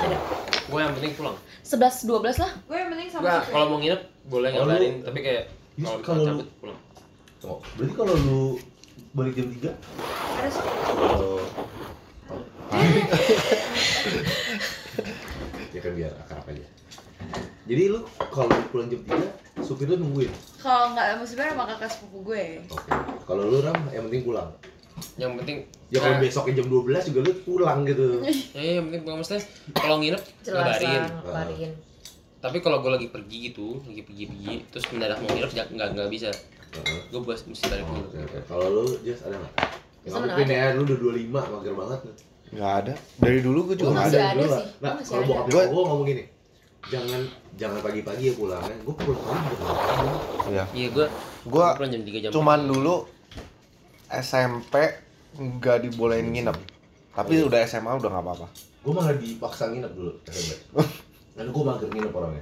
[SPEAKER 2] Ada.
[SPEAKER 5] Gue yang penting pulang.
[SPEAKER 2] 11 12 lah.
[SPEAKER 7] Gue yang penting sama
[SPEAKER 5] Nah,
[SPEAKER 7] Sufri.
[SPEAKER 5] kalau mau nginep boleh
[SPEAKER 3] Oh,
[SPEAKER 5] ngabarin.
[SPEAKER 3] lu-
[SPEAKER 5] Tapi kayak
[SPEAKER 3] Yes,
[SPEAKER 5] kalau
[SPEAKER 3] kalau
[SPEAKER 5] kalau
[SPEAKER 3] lu-
[SPEAKER 5] cabut pulang.
[SPEAKER 3] Tunggu. Oh, Berarti kalau lu balik jam Oh. 3
[SPEAKER 7] Terus
[SPEAKER 3] kalau ya kan biar akrab aja. Jadi lu kalau pulang jam 3, supir lu nungguin.
[SPEAKER 7] kalau nggak mau sebenarnya sama kakak sepupu gue.
[SPEAKER 3] Oke. Kalau lu ram yang penting pulang.
[SPEAKER 5] Yang penting
[SPEAKER 3] Ya kalau
[SPEAKER 5] Nah.
[SPEAKER 3] besoknya jam 12 juga lu pulang gitu.
[SPEAKER 5] ya, ya, yang penting pulang maksudnya kalau nginep ngabarin.
[SPEAKER 2] Jelasan, ngabarin.
[SPEAKER 5] Tapi kalau gue lagi pergi gitu, lagi pergi-pergi, terus mendadak mau nginep nggak nggak nggak bisa.
[SPEAKER 3] Heeh.
[SPEAKER 5] Gue buat mesti balik
[SPEAKER 3] Oh,
[SPEAKER 5] dulu.
[SPEAKER 3] oke, oke. Kalau lu just ada nggak?
[SPEAKER 2] Bisa
[SPEAKER 3] Nggak
[SPEAKER 2] mana
[SPEAKER 3] mungkin ya, lu udah 25, mager banget.
[SPEAKER 1] Nggak ada. Dari dulu gue juga
[SPEAKER 2] Gua
[SPEAKER 1] nggak
[SPEAKER 2] masih
[SPEAKER 1] ada.
[SPEAKER 2] ada.
[SPEAKER 3] Dulu lah.
[SPEAKER 2] sih.
[SPEAKER 3] Nah,
[SPEAKER 2] Masih
[SPEAKER 3] kalau
[SPEAKER 2] ada.
[SPEAKER 3] bokap
[SPEAKER 1] Gua-
[SPEAKER 3] nyokap gue ngomong gini, jangan jangan pagi-pagi ya pulangnya. Gue pulang pagi jam delapan.
[SPEAKER 1] Iya.
[SPEAKER 5] Iya gue
[SPEAKER 1] Gue
[SPEAKER 5] pulang jam 3 jam.
[SPEAKER 1] cuman dulu SMP nggak dibolehin nginep. Tapi udah SMA udah nggak apa-apa.
[SPEAKER 3] Gue malah dipaksa nginep dulu SMP. Lalu gue mager nginep orangnya.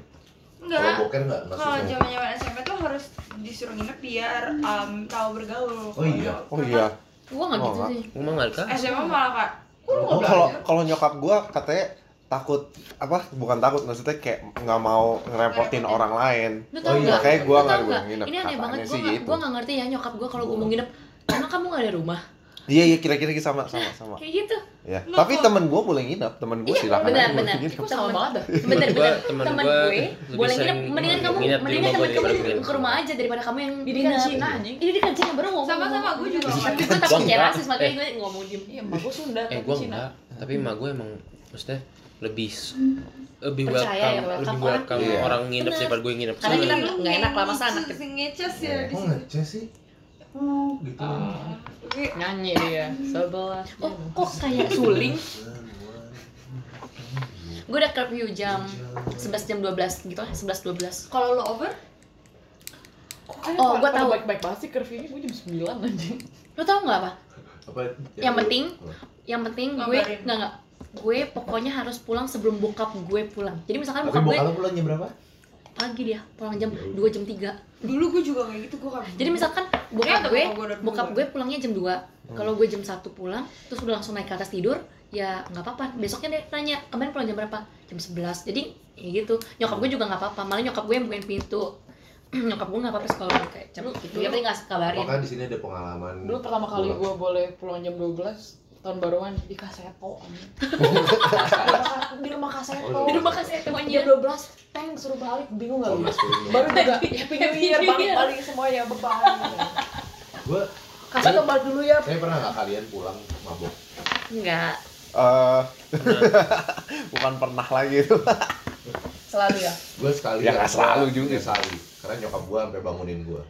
[SPEAKER 7] Lu
[SPEAKER 3] Kalau
[SPEAKER 7] Enggak.
[SPEAKER 3] boker nggak? Nggak
[SPEAKER 7] Kalau
[SPEAKER 3] susah. ya?
[SPEAKER 7] zaman zaman SMP tuh harus disuruh nginep biar em, tahu bergaul.
[SPEAKER 3] Oh iya.
[SPEAKER 1] Oh iya.
[SPEAKER 2] Gua nggak
[SPEAKER 1] Oh,
[SPEAKER 2] gitu
[SPEAKER 1] nggak.
[SPEAKER 2] sih.
[SPEAKER 5] Emang nggak kah?
[SPEAKER 7] SMA malah kak.
[SPEAKER 1] Oh, kalau kalau nyokap gua katanya takut apa bukan takut maksudnya kayak nggak mau ngerepotin
[SPEAKER 7] Ngerepotin.
[SPEAKER 1] orang lain
[SPEAKER 2] Lu
[SPEAKER 3] Oh
[SPEAKER 2] tau
[SPEAKER 3] iya,
[SPEAKER 2] nggak?
[SPEAKER 1] makanya gua
[SPEAKER 2] Lu tau
[SPEAKER 1] nggak
[SPEAKER 2] nggak?
[SPEAKER 1] dibolehin nginep
[SPEAKER 2] Ini aneh banget.
[SPEAKER 1] katanya
[SPEAKER 2] Gua
[SPEAKER 1] sih
[SPEAKER 2] nggak
[SPEAKER 1] gitu
[SPEAKER 2] gua nggak ngerti ya nyokap gua kalau gua mau nginep. Emang kamu nggak ada rumah?
[SPEAKER 1] iya iya kira-kira sama sama sama
[SPEAKER 2] Kayak gitu.
[SPEAKER 1] ya
[SPEAKER 7] Lu
[SPEAKER 1] tapi
[SPEAKER 7] kok-
[SPEAKER 1] temen gua boleh nginep temen gua
[SPEAKER 2] Iya,
[SPEAKER 1] silakan
[SPEAKER 2] benar,
[SPEAKER 1] aja boleh
[SPEAKER 2] benar.
[SPEAKER 1] nginep.
[SPEAKER 6] Kok sama
[SPEAKER 2] Temen-
[SPEAKER 6] banget dah?
[SPEAKER 2] Bener
[SPEAKER 5] gua-
[SPEAKER 2] bener.
[SPEAKER 5] temen
[SPEAKER 2] Temen
[SPEAKER 5] gua
[SPEAKER 2] gue
[SPEAKER 5] lebih
[SPEAKER 2] boleh
[SPEAKER 5] sering
[SPEAKER 2] nginep. Mendingan kamu
[SPEAKER 5] nginep di
[SPEAKER 2] mendingan
[SPEAKER 5] rumah
[SPEAKER 2] temen
[SPEAKER 5] gua
[SPEAKER 2] kamu
[SPEAKER 5] daripada nginep
[SPEAKER 2] ke rumah aja daripada kamu yang
[SPEAKER 6] Didikan
[SPEAKER 2] nginep.
[SPEAKER 6] Cina anjing.
[SPEAKER 2] Ini kan Cina baru ngomong.
[SPEAKER 7] Sama-sama, gua juga.
[SPEAKER 2] Tapi gue takut kayak rasis makanya gue ngomong diem.
[SPEAKER 6] Iya, emak gue Sunda,
[SPEAKER 5] eh
[SPEAKER 6] tapi
[SPEAKER 5] gue
[SPEAKER 6] Cina.
[SPEAKER 5] enggak tapi emak gue emang maksudnya lebih lebih
[SPEAKER 2] Percaya
[SPEAKER 5] welcome,
[SPEAKER 2] ya,
[SPEAKER 5] lebih
[SPEAKER 2] welcome orang.
[SPEAKER 5] welcome
[SPEAKER 1] Iya.
[SPEAKER 5] orang nginep
[SPEAKER 2] Bener.
[SPEAKER 5] daripada gue nginep
[SPEAKER 2] Karena kita
[SPEAKER 5] Soalnya-
[SPEAKER 2] nggak enak lah, masa anak-
[SPEAKER 7] Ngeces ya di
[SPEAKER 3] Kok
[SPEAKER 7] situ.
[SPEAKER 3] ngeceh Oh, sih? Oh, gitu.
[SPEAKER 6] Ah.
[SPEAKER 7] Oke.
[SPEAKER 6] Nyanyi dia. Sebelas.
[SPEAKER 2] Oh, kok kayak suling? Gue udah curfew jam 11 jam 12 gitu lah, 11 12.
[SPEAKER 7] Kalau lo over,
[SPEAKER 2] Oh, gua tahu.
[SPEAKER 6] Baik-baik banget sih curfew ini gue jam 9 anjing.
[SPEAKER 2] Lo tau nggak apa?
[SPEAKER 3] Apa?
[SPEAKER 2] Yang penting Yang penting gue
[SPEAKER 7] Ngabarin.
[SPEAKER 2] nggak nggak gue pokoknya harus pulang sebelum bokap gue pulang. Jadi misalkan
[SPEAKER 3] Tapi
[SPEAKER 2] bokap gue
[SPEAKER 3] bokap lo pulangnya berapa?
[SPEAKER 2] pagi dia pulang jam 2 jam 3.
[SPEAKER 7] dulu gue juga kayak gitu gue kan.
[SPEAKER 2] Jadi misalkan bokap
[SPEAKER 7] atau
[SPEAKER 2] gue
[SPEAKER 7] bokap gue udah
[SPEAKER 2] bokap
[SPEAKER 7] duluan?
[SPEAKER 2] gue pulangnya jam 2. Kalau gue jam 1 pulang terus udah langsung naik ke atas tidur, ya nggak apa-apa. Besoknya dia tanya, "Kemarin pulang jam berapa?" Jam 11. Jadi ya gitu. Nyokap gue juga nggak apa-apa. Malah nyokap gue yang bukain pintu. nyokap gue nggak apa-apa sekolah kayak jam gitu. Ya penting ngasih kabarin.
[SPEAKER 3] Apakah di sini ada pengalaman?
[SPEAKER 6] Dulu pertama kali
[SPEAKER 3] Pulang.
[SPEAKER 6] gue boleh pulang jam 12 tahun baruan di kaseto anjing. di rumah kaseto
[SPEAKER 3] Di rumah
[SPEAKER 2] Makasih ya temannya.
[SPEAKER 6] jam 12 tank suruh balik bingung gak lu
[SPEAKER 3] Oh, mas, pulang.
[SPEAKER 6] baru juga happy new year
[SPEAKER 2] Happy New
[SPEAKER 6] balik
[SPEAKER 2] Year.
[SPEAKER 6] balik semuanya beban
[SPEAKER 3] Gua,
[SPEAKER 6] kaseto balik dulu ya
[SPEAKER 3] saya pernah nggak kalian pulang mabok?
[SPEAKER 2] Enggak.
[SPEAKER 1] Eh, bukan pernah lagi itu
[SPEAKER 6] selalu ya
[SPEAKER 3] Gue sekali.
[SPEAKER 1] Ya, nggak selalu juga.
[SPEAKER 3] Nggak Selalu. Karena nyokap gue sampai bangunin gue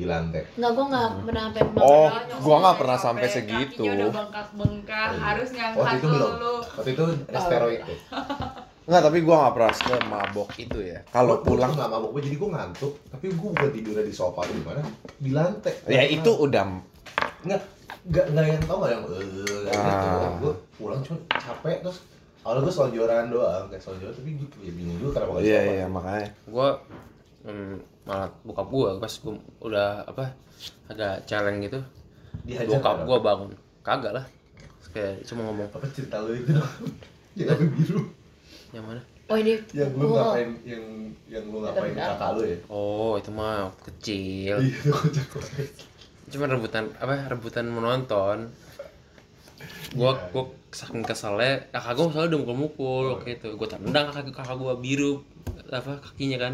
[SPEAKER 3] di lantai.
[SPEAKER 2] Enggak, gue nggak pernah sampai
[SPEAKER 1] Oh,
[SPEAKER 7] Padahal nyokap
[SPEAKER 1] gua nggak
[SPEAKER 7] gue
[SPEAKER 1] pernah sampai
[SPEAKER 7] kakinya
[SPEAKER 1] segitu.
[SPEAKER 7] udah bengkak-bengkak,
[SPEAKER 3] Oh, iya.
[SPEAKER 7] harus
[SPEAKER 3] Waktu
[SPEAKER 7] ngangkat
[SPEAKER 3] itu belum.
[SPEAKER 7] dulu.
[SPEAKER 3] Waktu itu ada steroid. ya.
[SPEAKER 1] Enggak, tapi gua nggak pernah mabok itu ya kalau
[SPEAKER 3] Gua-
[SPEAKER 1] pulang
[SPEAKER 3] gua nggak mabok gue jadi gue ngantuk. Tapi gue bukan tidurnya di sofa atau di mana, di lantai.
[SPEAKER 1] ya itu udah
[SPEAKER 3] Nggak, nggak nggak yang tau nggak yang eh
[SPEAKER 1] Ah.
[SPEAKER 3] gue pulang cuma capek terus awalnya gue selonjoran doang kayak selonjoran tapi gitu ya bingung juga kenapa nggak
[SPEAKER 1] iya
[SPEAKER 3] sopan.
[SPEAKER 1] iya makanya
[SPEAKER 5] gue mm, malah bokap gue pas gue udah apa ada challenge gitu
[SPEAKER 1] Iya,
[SPEAKER 3] dihajar
[SPEAKER 5] bokap
[SPEAKER 3] kan?
[SPEAKER 5] gue bangun kagak lah Terus kayak cuma ngomong
[SPEAKER 3] apa cerita lo itu yang apa biru
[SPEAKER 5] yang mana
[SPEAKER 2] Oh ini.
[SPEAKER 3] yang lu
[SPEAKER 2] gua-
[SPEAKER 3] ngapain yang yang lu ngapain
[SPEAKER 6] Bentar, bentar.
[SPEAKER 3] kakak lu ya
[SPEAKER 5] oh itu mah waktu kecil
[SPEAKER 3] iya itu kocak banget.
[SPEAKER 5] cuma rebutan apa rebutan menonton gua
[SPEAKER 3] Iya.
[SPEAKER 5] gua saking keselnya kakak gua soalnya udah mukul-mukul waktu itu gua tendang kakak kakak gua biru apa kakinya kan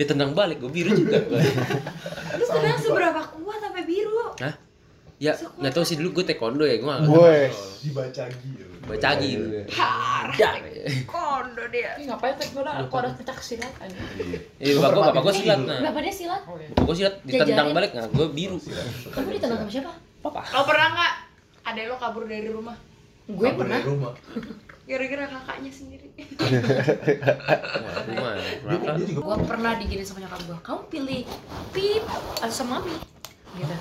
[SPEAKER 5] ditendang balik gua biru juga gua.
[SPEAKER 7] Terus
[SPEAKER 3] Sama
[SPEAKER 7] kadang
[SPEAKER 3] juga.
[SPEAKER 7] seberapa kuat sampai biru?
[SPEAKER 5] ya nggak tahu sih dulu gua taekwondo ya gua nggak
[SPEAKER 1] Woi.
[SPEAKER 3] dibacagi ya
[SPEAKER 5] bacagi
[SPEAKER 7] Parah. Kondo dia.
[SPEAKER 6] Ih, ngapain tuh gue kok ada pencak silat anjing
[SPEAKER 3] Iya.
[SPEAKER 5] Eh, bapak gua bapak gua
[SPEAKER 3] Permati
[SPEAKER 5] silat
[SPEAKER 3] dulu.
[SPEAKER 5] nah
[SPEAKER 2] Berapa dia silat?
[SPEAKER 6] oh iya
[SPEAKER 5] bapak gua silat ditendang
[SPEAKER 2] Jajarin.
[SPEAKER 5] balik nah gua biru
[SPEAKER 3] Silat.
[SPEAKER 2] Kamu
[SPEAKER 3] Iya.
[SPEAKER 2] ditendang sama siapa?
[SPEAKER 5] papa
[SPEAKER 7] Lo pernah nggak? Ada lo kabur dari rumah?
[SPEAKER 2] Gue
[SPEAKER 3] Kabur
[SPEAKER 2] pernah.
[SPEAKER 3] dari rumah
[SPEAKER 7] Gara-gara kakaknya sendiri.
[SPEAKER 5] Wah, rumah
[SPEAKER 3] dia,
[SPEAKER 5] berapa
[SPEAKER 3] dia juga
[SPEAKER 2] Gue pernah digini sama nyokap gue. Kamu pilih pip atau sama mami? Gitu.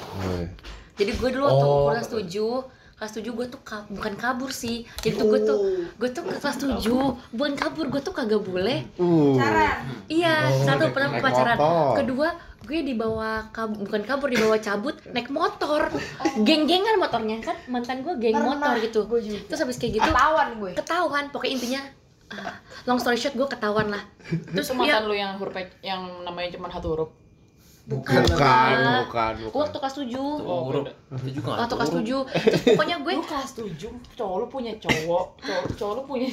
[SPEAKER 2] Jadi gue dulu waktu
[SPEAKER 3] Oh.
[SPEAKER 2] kelas 7 kelas 7 gue tuh ka- bukan kabur sih jadi tuh gue
[SPEAKER 3] Oh.
[SPEAKER 2] tuh gue tuh ke kelas 7 bukan kabur gue tuh kagak boleh
[SPEAKER 1] uh
[SPEAKER 7] Cara.
[SPEAKER 2] iya
[SPEAKER 3] Oh,
[SPEAKER 2] satu
[SPEAKER 3] naik-
[SPEAKER 2] pertama
[SPEAKER 1] naik
[SPEAKER 2] pacaran
[SPEAKER 1] motor.
[SPEAKER 2] kedua gue dibawa kab- bukan kabur dibawa cabut naik motor geng-gengan motornya kan mantan gue geng motor gitu
[SPEAKER 6] gue juga
[SPEAKER 2] terus habis kayak gitu
[SPEAKER 7] Ketahuan gue.
[SPEAKER 2] ketahuan pokoknya intinya ah, long story short gue ketahuan lah
[SPEAKER 6] itu
[SPEAKER 2] terus dia
[SPEAKER 6] mantan lu yang huruf yang namanya cuma satu huruf
[SPEAKER 1] bukan bukan bukan
[SPEAKER 2] gue waktu kelas 7
[SPEAKER 5] Oh, huruf. itu juga nggak
[SPEAKER 2] waktu
[SPEAKER 5] tahu
[SPEAKER 2] kelas
[SPEAKER 5] huruf.
[SPEAKER 2] 7 terus pokoknya gue
[SPEAKER 6] lu kelas tujuh cowok lu punya cowok cowok cowok lu punya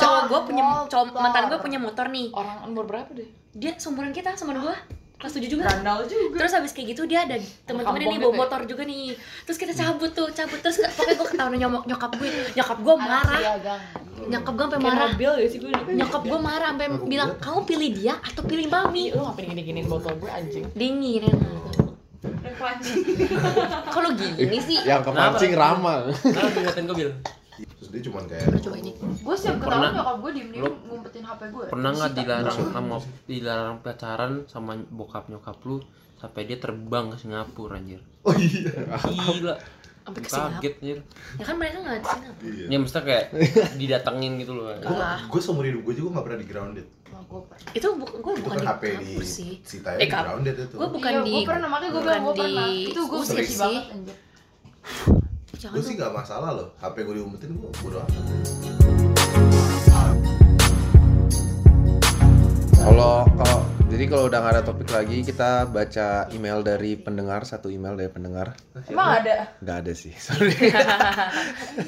[SPEAKER 2] cowok gue punya cowok mantan gue punya motor nih
[SPEAKER 6] orang umur berapa deh
[SPEAKER 2] dia seumuran kita sama gue kelas 7 juga
[SPEAKER 7] Randal juga.
[SPEAKER 2] terus habis kayak gitu dia ada teman-teman
[SPEAKER 6] Kampung
[SPEAKER 2] ini
[SPEAKER 6] gitu
[SPEAKER 2] bawa
[SPEAKER 6] ya?
[SPEAKER 2] motor juga nih terus kita cabut tuh cabut terus ke- pokoknya gue ketahuan nyomok nyokap gue nyokap gue marah
[SPEAKER 6] Siagang.
[SPEAKER 2] nyokap gue
[SPEAKER 6] Iya,
[SPEAKER 2] sampai
[SPEAKER 6] Kayak
[SPEAKER 2] marah
[SPEAKER 6] mobil gak sih gue
[SPEAKER 2] nyokap gue marah sampai bilang kamu pilih dia atau pilih mami
[SPEAKER 6] Ih, lu ngapain gini-giniin botol gue anjing
[SPEAKER 2] dingin emang
[SPEAKER 7] Refleksi.
[SPEAKER 2] kalau gini
[SPEAKER 3] Eh.
[SPEAKER 2] sih
[SPEAKER 1] yang kepancing ramang
[SPEAKER 5] Nah, ingetin gue bil
[SPEAKER 3] terus dia cuman kayak
[SPEAKER 2] coba ini
[SPEAKER 7] Gue siap
[SPEAKER 5] Pernah.
[SPEAKER 7] ketahuan nyokap gue diem-diem
[SPEAKER 5] Lo-
[SPEAKER 7] ngumpetin HP gue.
[SPEAKER 5] pernah nggak dilarang sama dilarang pacaran sama bokap nyokap lu sampai dia terbang ke Singapura anjir
[SPEAKER 1] oh iya
[SPEAKER 5] gila
[SPEAKER 4] sampai kesinap
[SPEAKER 5] kaget nyir
[SPEAKER 4] ya kan mereka nggak kesinap
[SPEAKER 3] Iya.
[SPEAKER 5] ya maksudnya kayak didatengin gitu loh
[SPEAKER 3] Gue gue seumur hidup gue juga gak pernah di grounded.
[SPEAKER 6] Wah, gua pernah.
[SPEAKER 4] itu bu- gua
[SPEAKER 3] Itu
[SPEAKER 4] bukan
[SPEAKER 3] kan
[SPEAKER 4] di
[SPEAKER 3] HP di
[SPEAKER 4] kampus sih
[SPEAKER 3] sitanya
[SPEAKER 4] Eh,
[SPEAKER 3] di
[SPEAKER 4] kap-
[SPEAKER 3] grounded itu.
[SPEAKER 4] gua bukan
[SPEAKER 6] Iya,
[SPEAKER 4] di
[SPEAKER 6] gua pernah makanya gue bilang gue
[SPEAKER 4] bukan
[SPEAKER 6] pernah.
[SPEAKER 4] di-
[SPEAKER 6] Itu gue
[SPEAKER 4] Gua
[SPEAKER 6] benci
[SPEAKER 4] sih.
[SPEAKER 6] banget anjir.
[SPEAKER 4] jangan
[SPEAKER 3] Gue
[SPEAKER 4] tuh
[SPEAKER 3] sih gak masalah loh. HP gue diumpetin gue bodo amat.
[SPEAKER 1] Kalau kalau jadi kalau udah nggak ada topik lagi kita baca email dari pendengar satu email dari pendengar
[SPEAKER 6] Emang ada
[SPEAKER 1] nggak ada sih sorry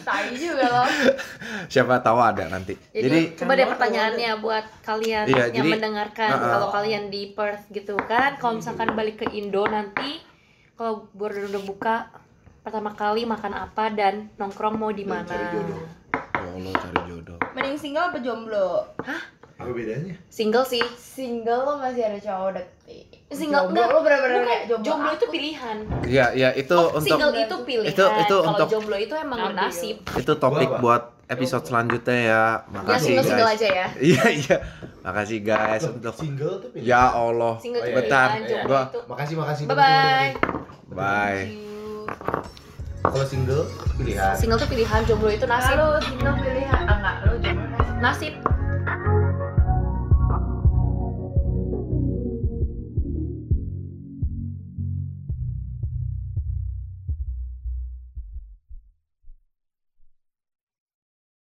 [SPEAKER 6] tai juga loh.
[SPEAKER 1] siapa tahu ada nanti
[SPEAKER 2] Jadi,
[SPEAKER 1] jadi kan
[SPEAKER 2] coba deh pertanyaannya buat kalian
[SPEAKER 1] Iya,
[SPEAKER 2] yang
[SPEAKER 1] jadi-
[SPEAKER 2] mendengarkan
[SPEAKER 1] Nah,
[SPEAKER 2] kalau kalian di Perth gitu kan, kalau misalkan balik ke Indo nanti kalau border udah buka pertama kali makan apa dan nongkrong mau di
[SPEAKER 3] Dan
[SPEAKER 2] mana?
[SPEAKER 3] cari jodoh.
[SPEAKER 1] ya Allah cari jodoh
[SPEAKER 8] Mending single apa jomblo?
[SPEAKER 3] Apa bedanya?
[SPEAKER 2] Single sih.
[SPEAKER 8] Single lo masih ada cowok deketin.
[SPEAKER 2] Single-
[SPEAKER 8] jomblo,
[SPEAKER 2] enggak.
[SPEAKER 8] lo bener-bener
[SPEAKER 2] Bukan,
[SPEAKER 8] kayak jomblo.
[SPEAKER 2] jomblo itu
[SPEAKER 8] aku.
[SPEAKER 2] pilihan.
[SPEAKER 1] ya ya itu untuk
[SPEAKER 2] Oh, Single itu pilihan.
[SPEAKER 1] Itu- itu
[SPEAKER 2] kalau
[SPEAKER 1] untuk-
[SPEAKER 2] jomblo itu emang
[SPEAKER 6] Ambil.
[SPEAKER 2] bernasib.
[SPEAKER 1] itu topik
[SPEAKER 3] Gua apa?
[SPEAKER 1] buat episode selanjutnya ya
[SPEAKER 2] Ya
[SPEAKER 1] makasih
[SPEAKER 2] single single
[SPEAKER 1] guys
[SPEAKER 2] aja ya.
[SPEAKER 1] iya iya makasih guys
[SPEAKER 3] Loh,
[SPEAKER 1] untuk
[SPEAKER 3] Single tuh pilih.
[SPEAKER 1] ya Allah
[SPEAKER 2] Single
[SPEAKER 3] Oh,
[SPEAKER 2] itu
[SPEAKER 3] iya,
[SPEAKER 2] pilihan,
[SPEAKER 1] iya,
[SPEAKER 2] jomblo
[SPEAKER 1] gua-
[SPEAKER 2] itu.
[SPEAKER 3] Makasih makasih.
[SPEAKER 2] Bye bye.
[SPEAKER 1] bye
[SPEAKER 3] Kalau single pilihan.
[SPEAKER 2] Single itu pilihan, jomblo itu
[SPEAKER 8] Nah,
[SPEAKER 2] nasib.
[SPEAKER 8] lo single pilihan, ah, enggak, lo jomblo.
[SPEAKER 2] Nasib.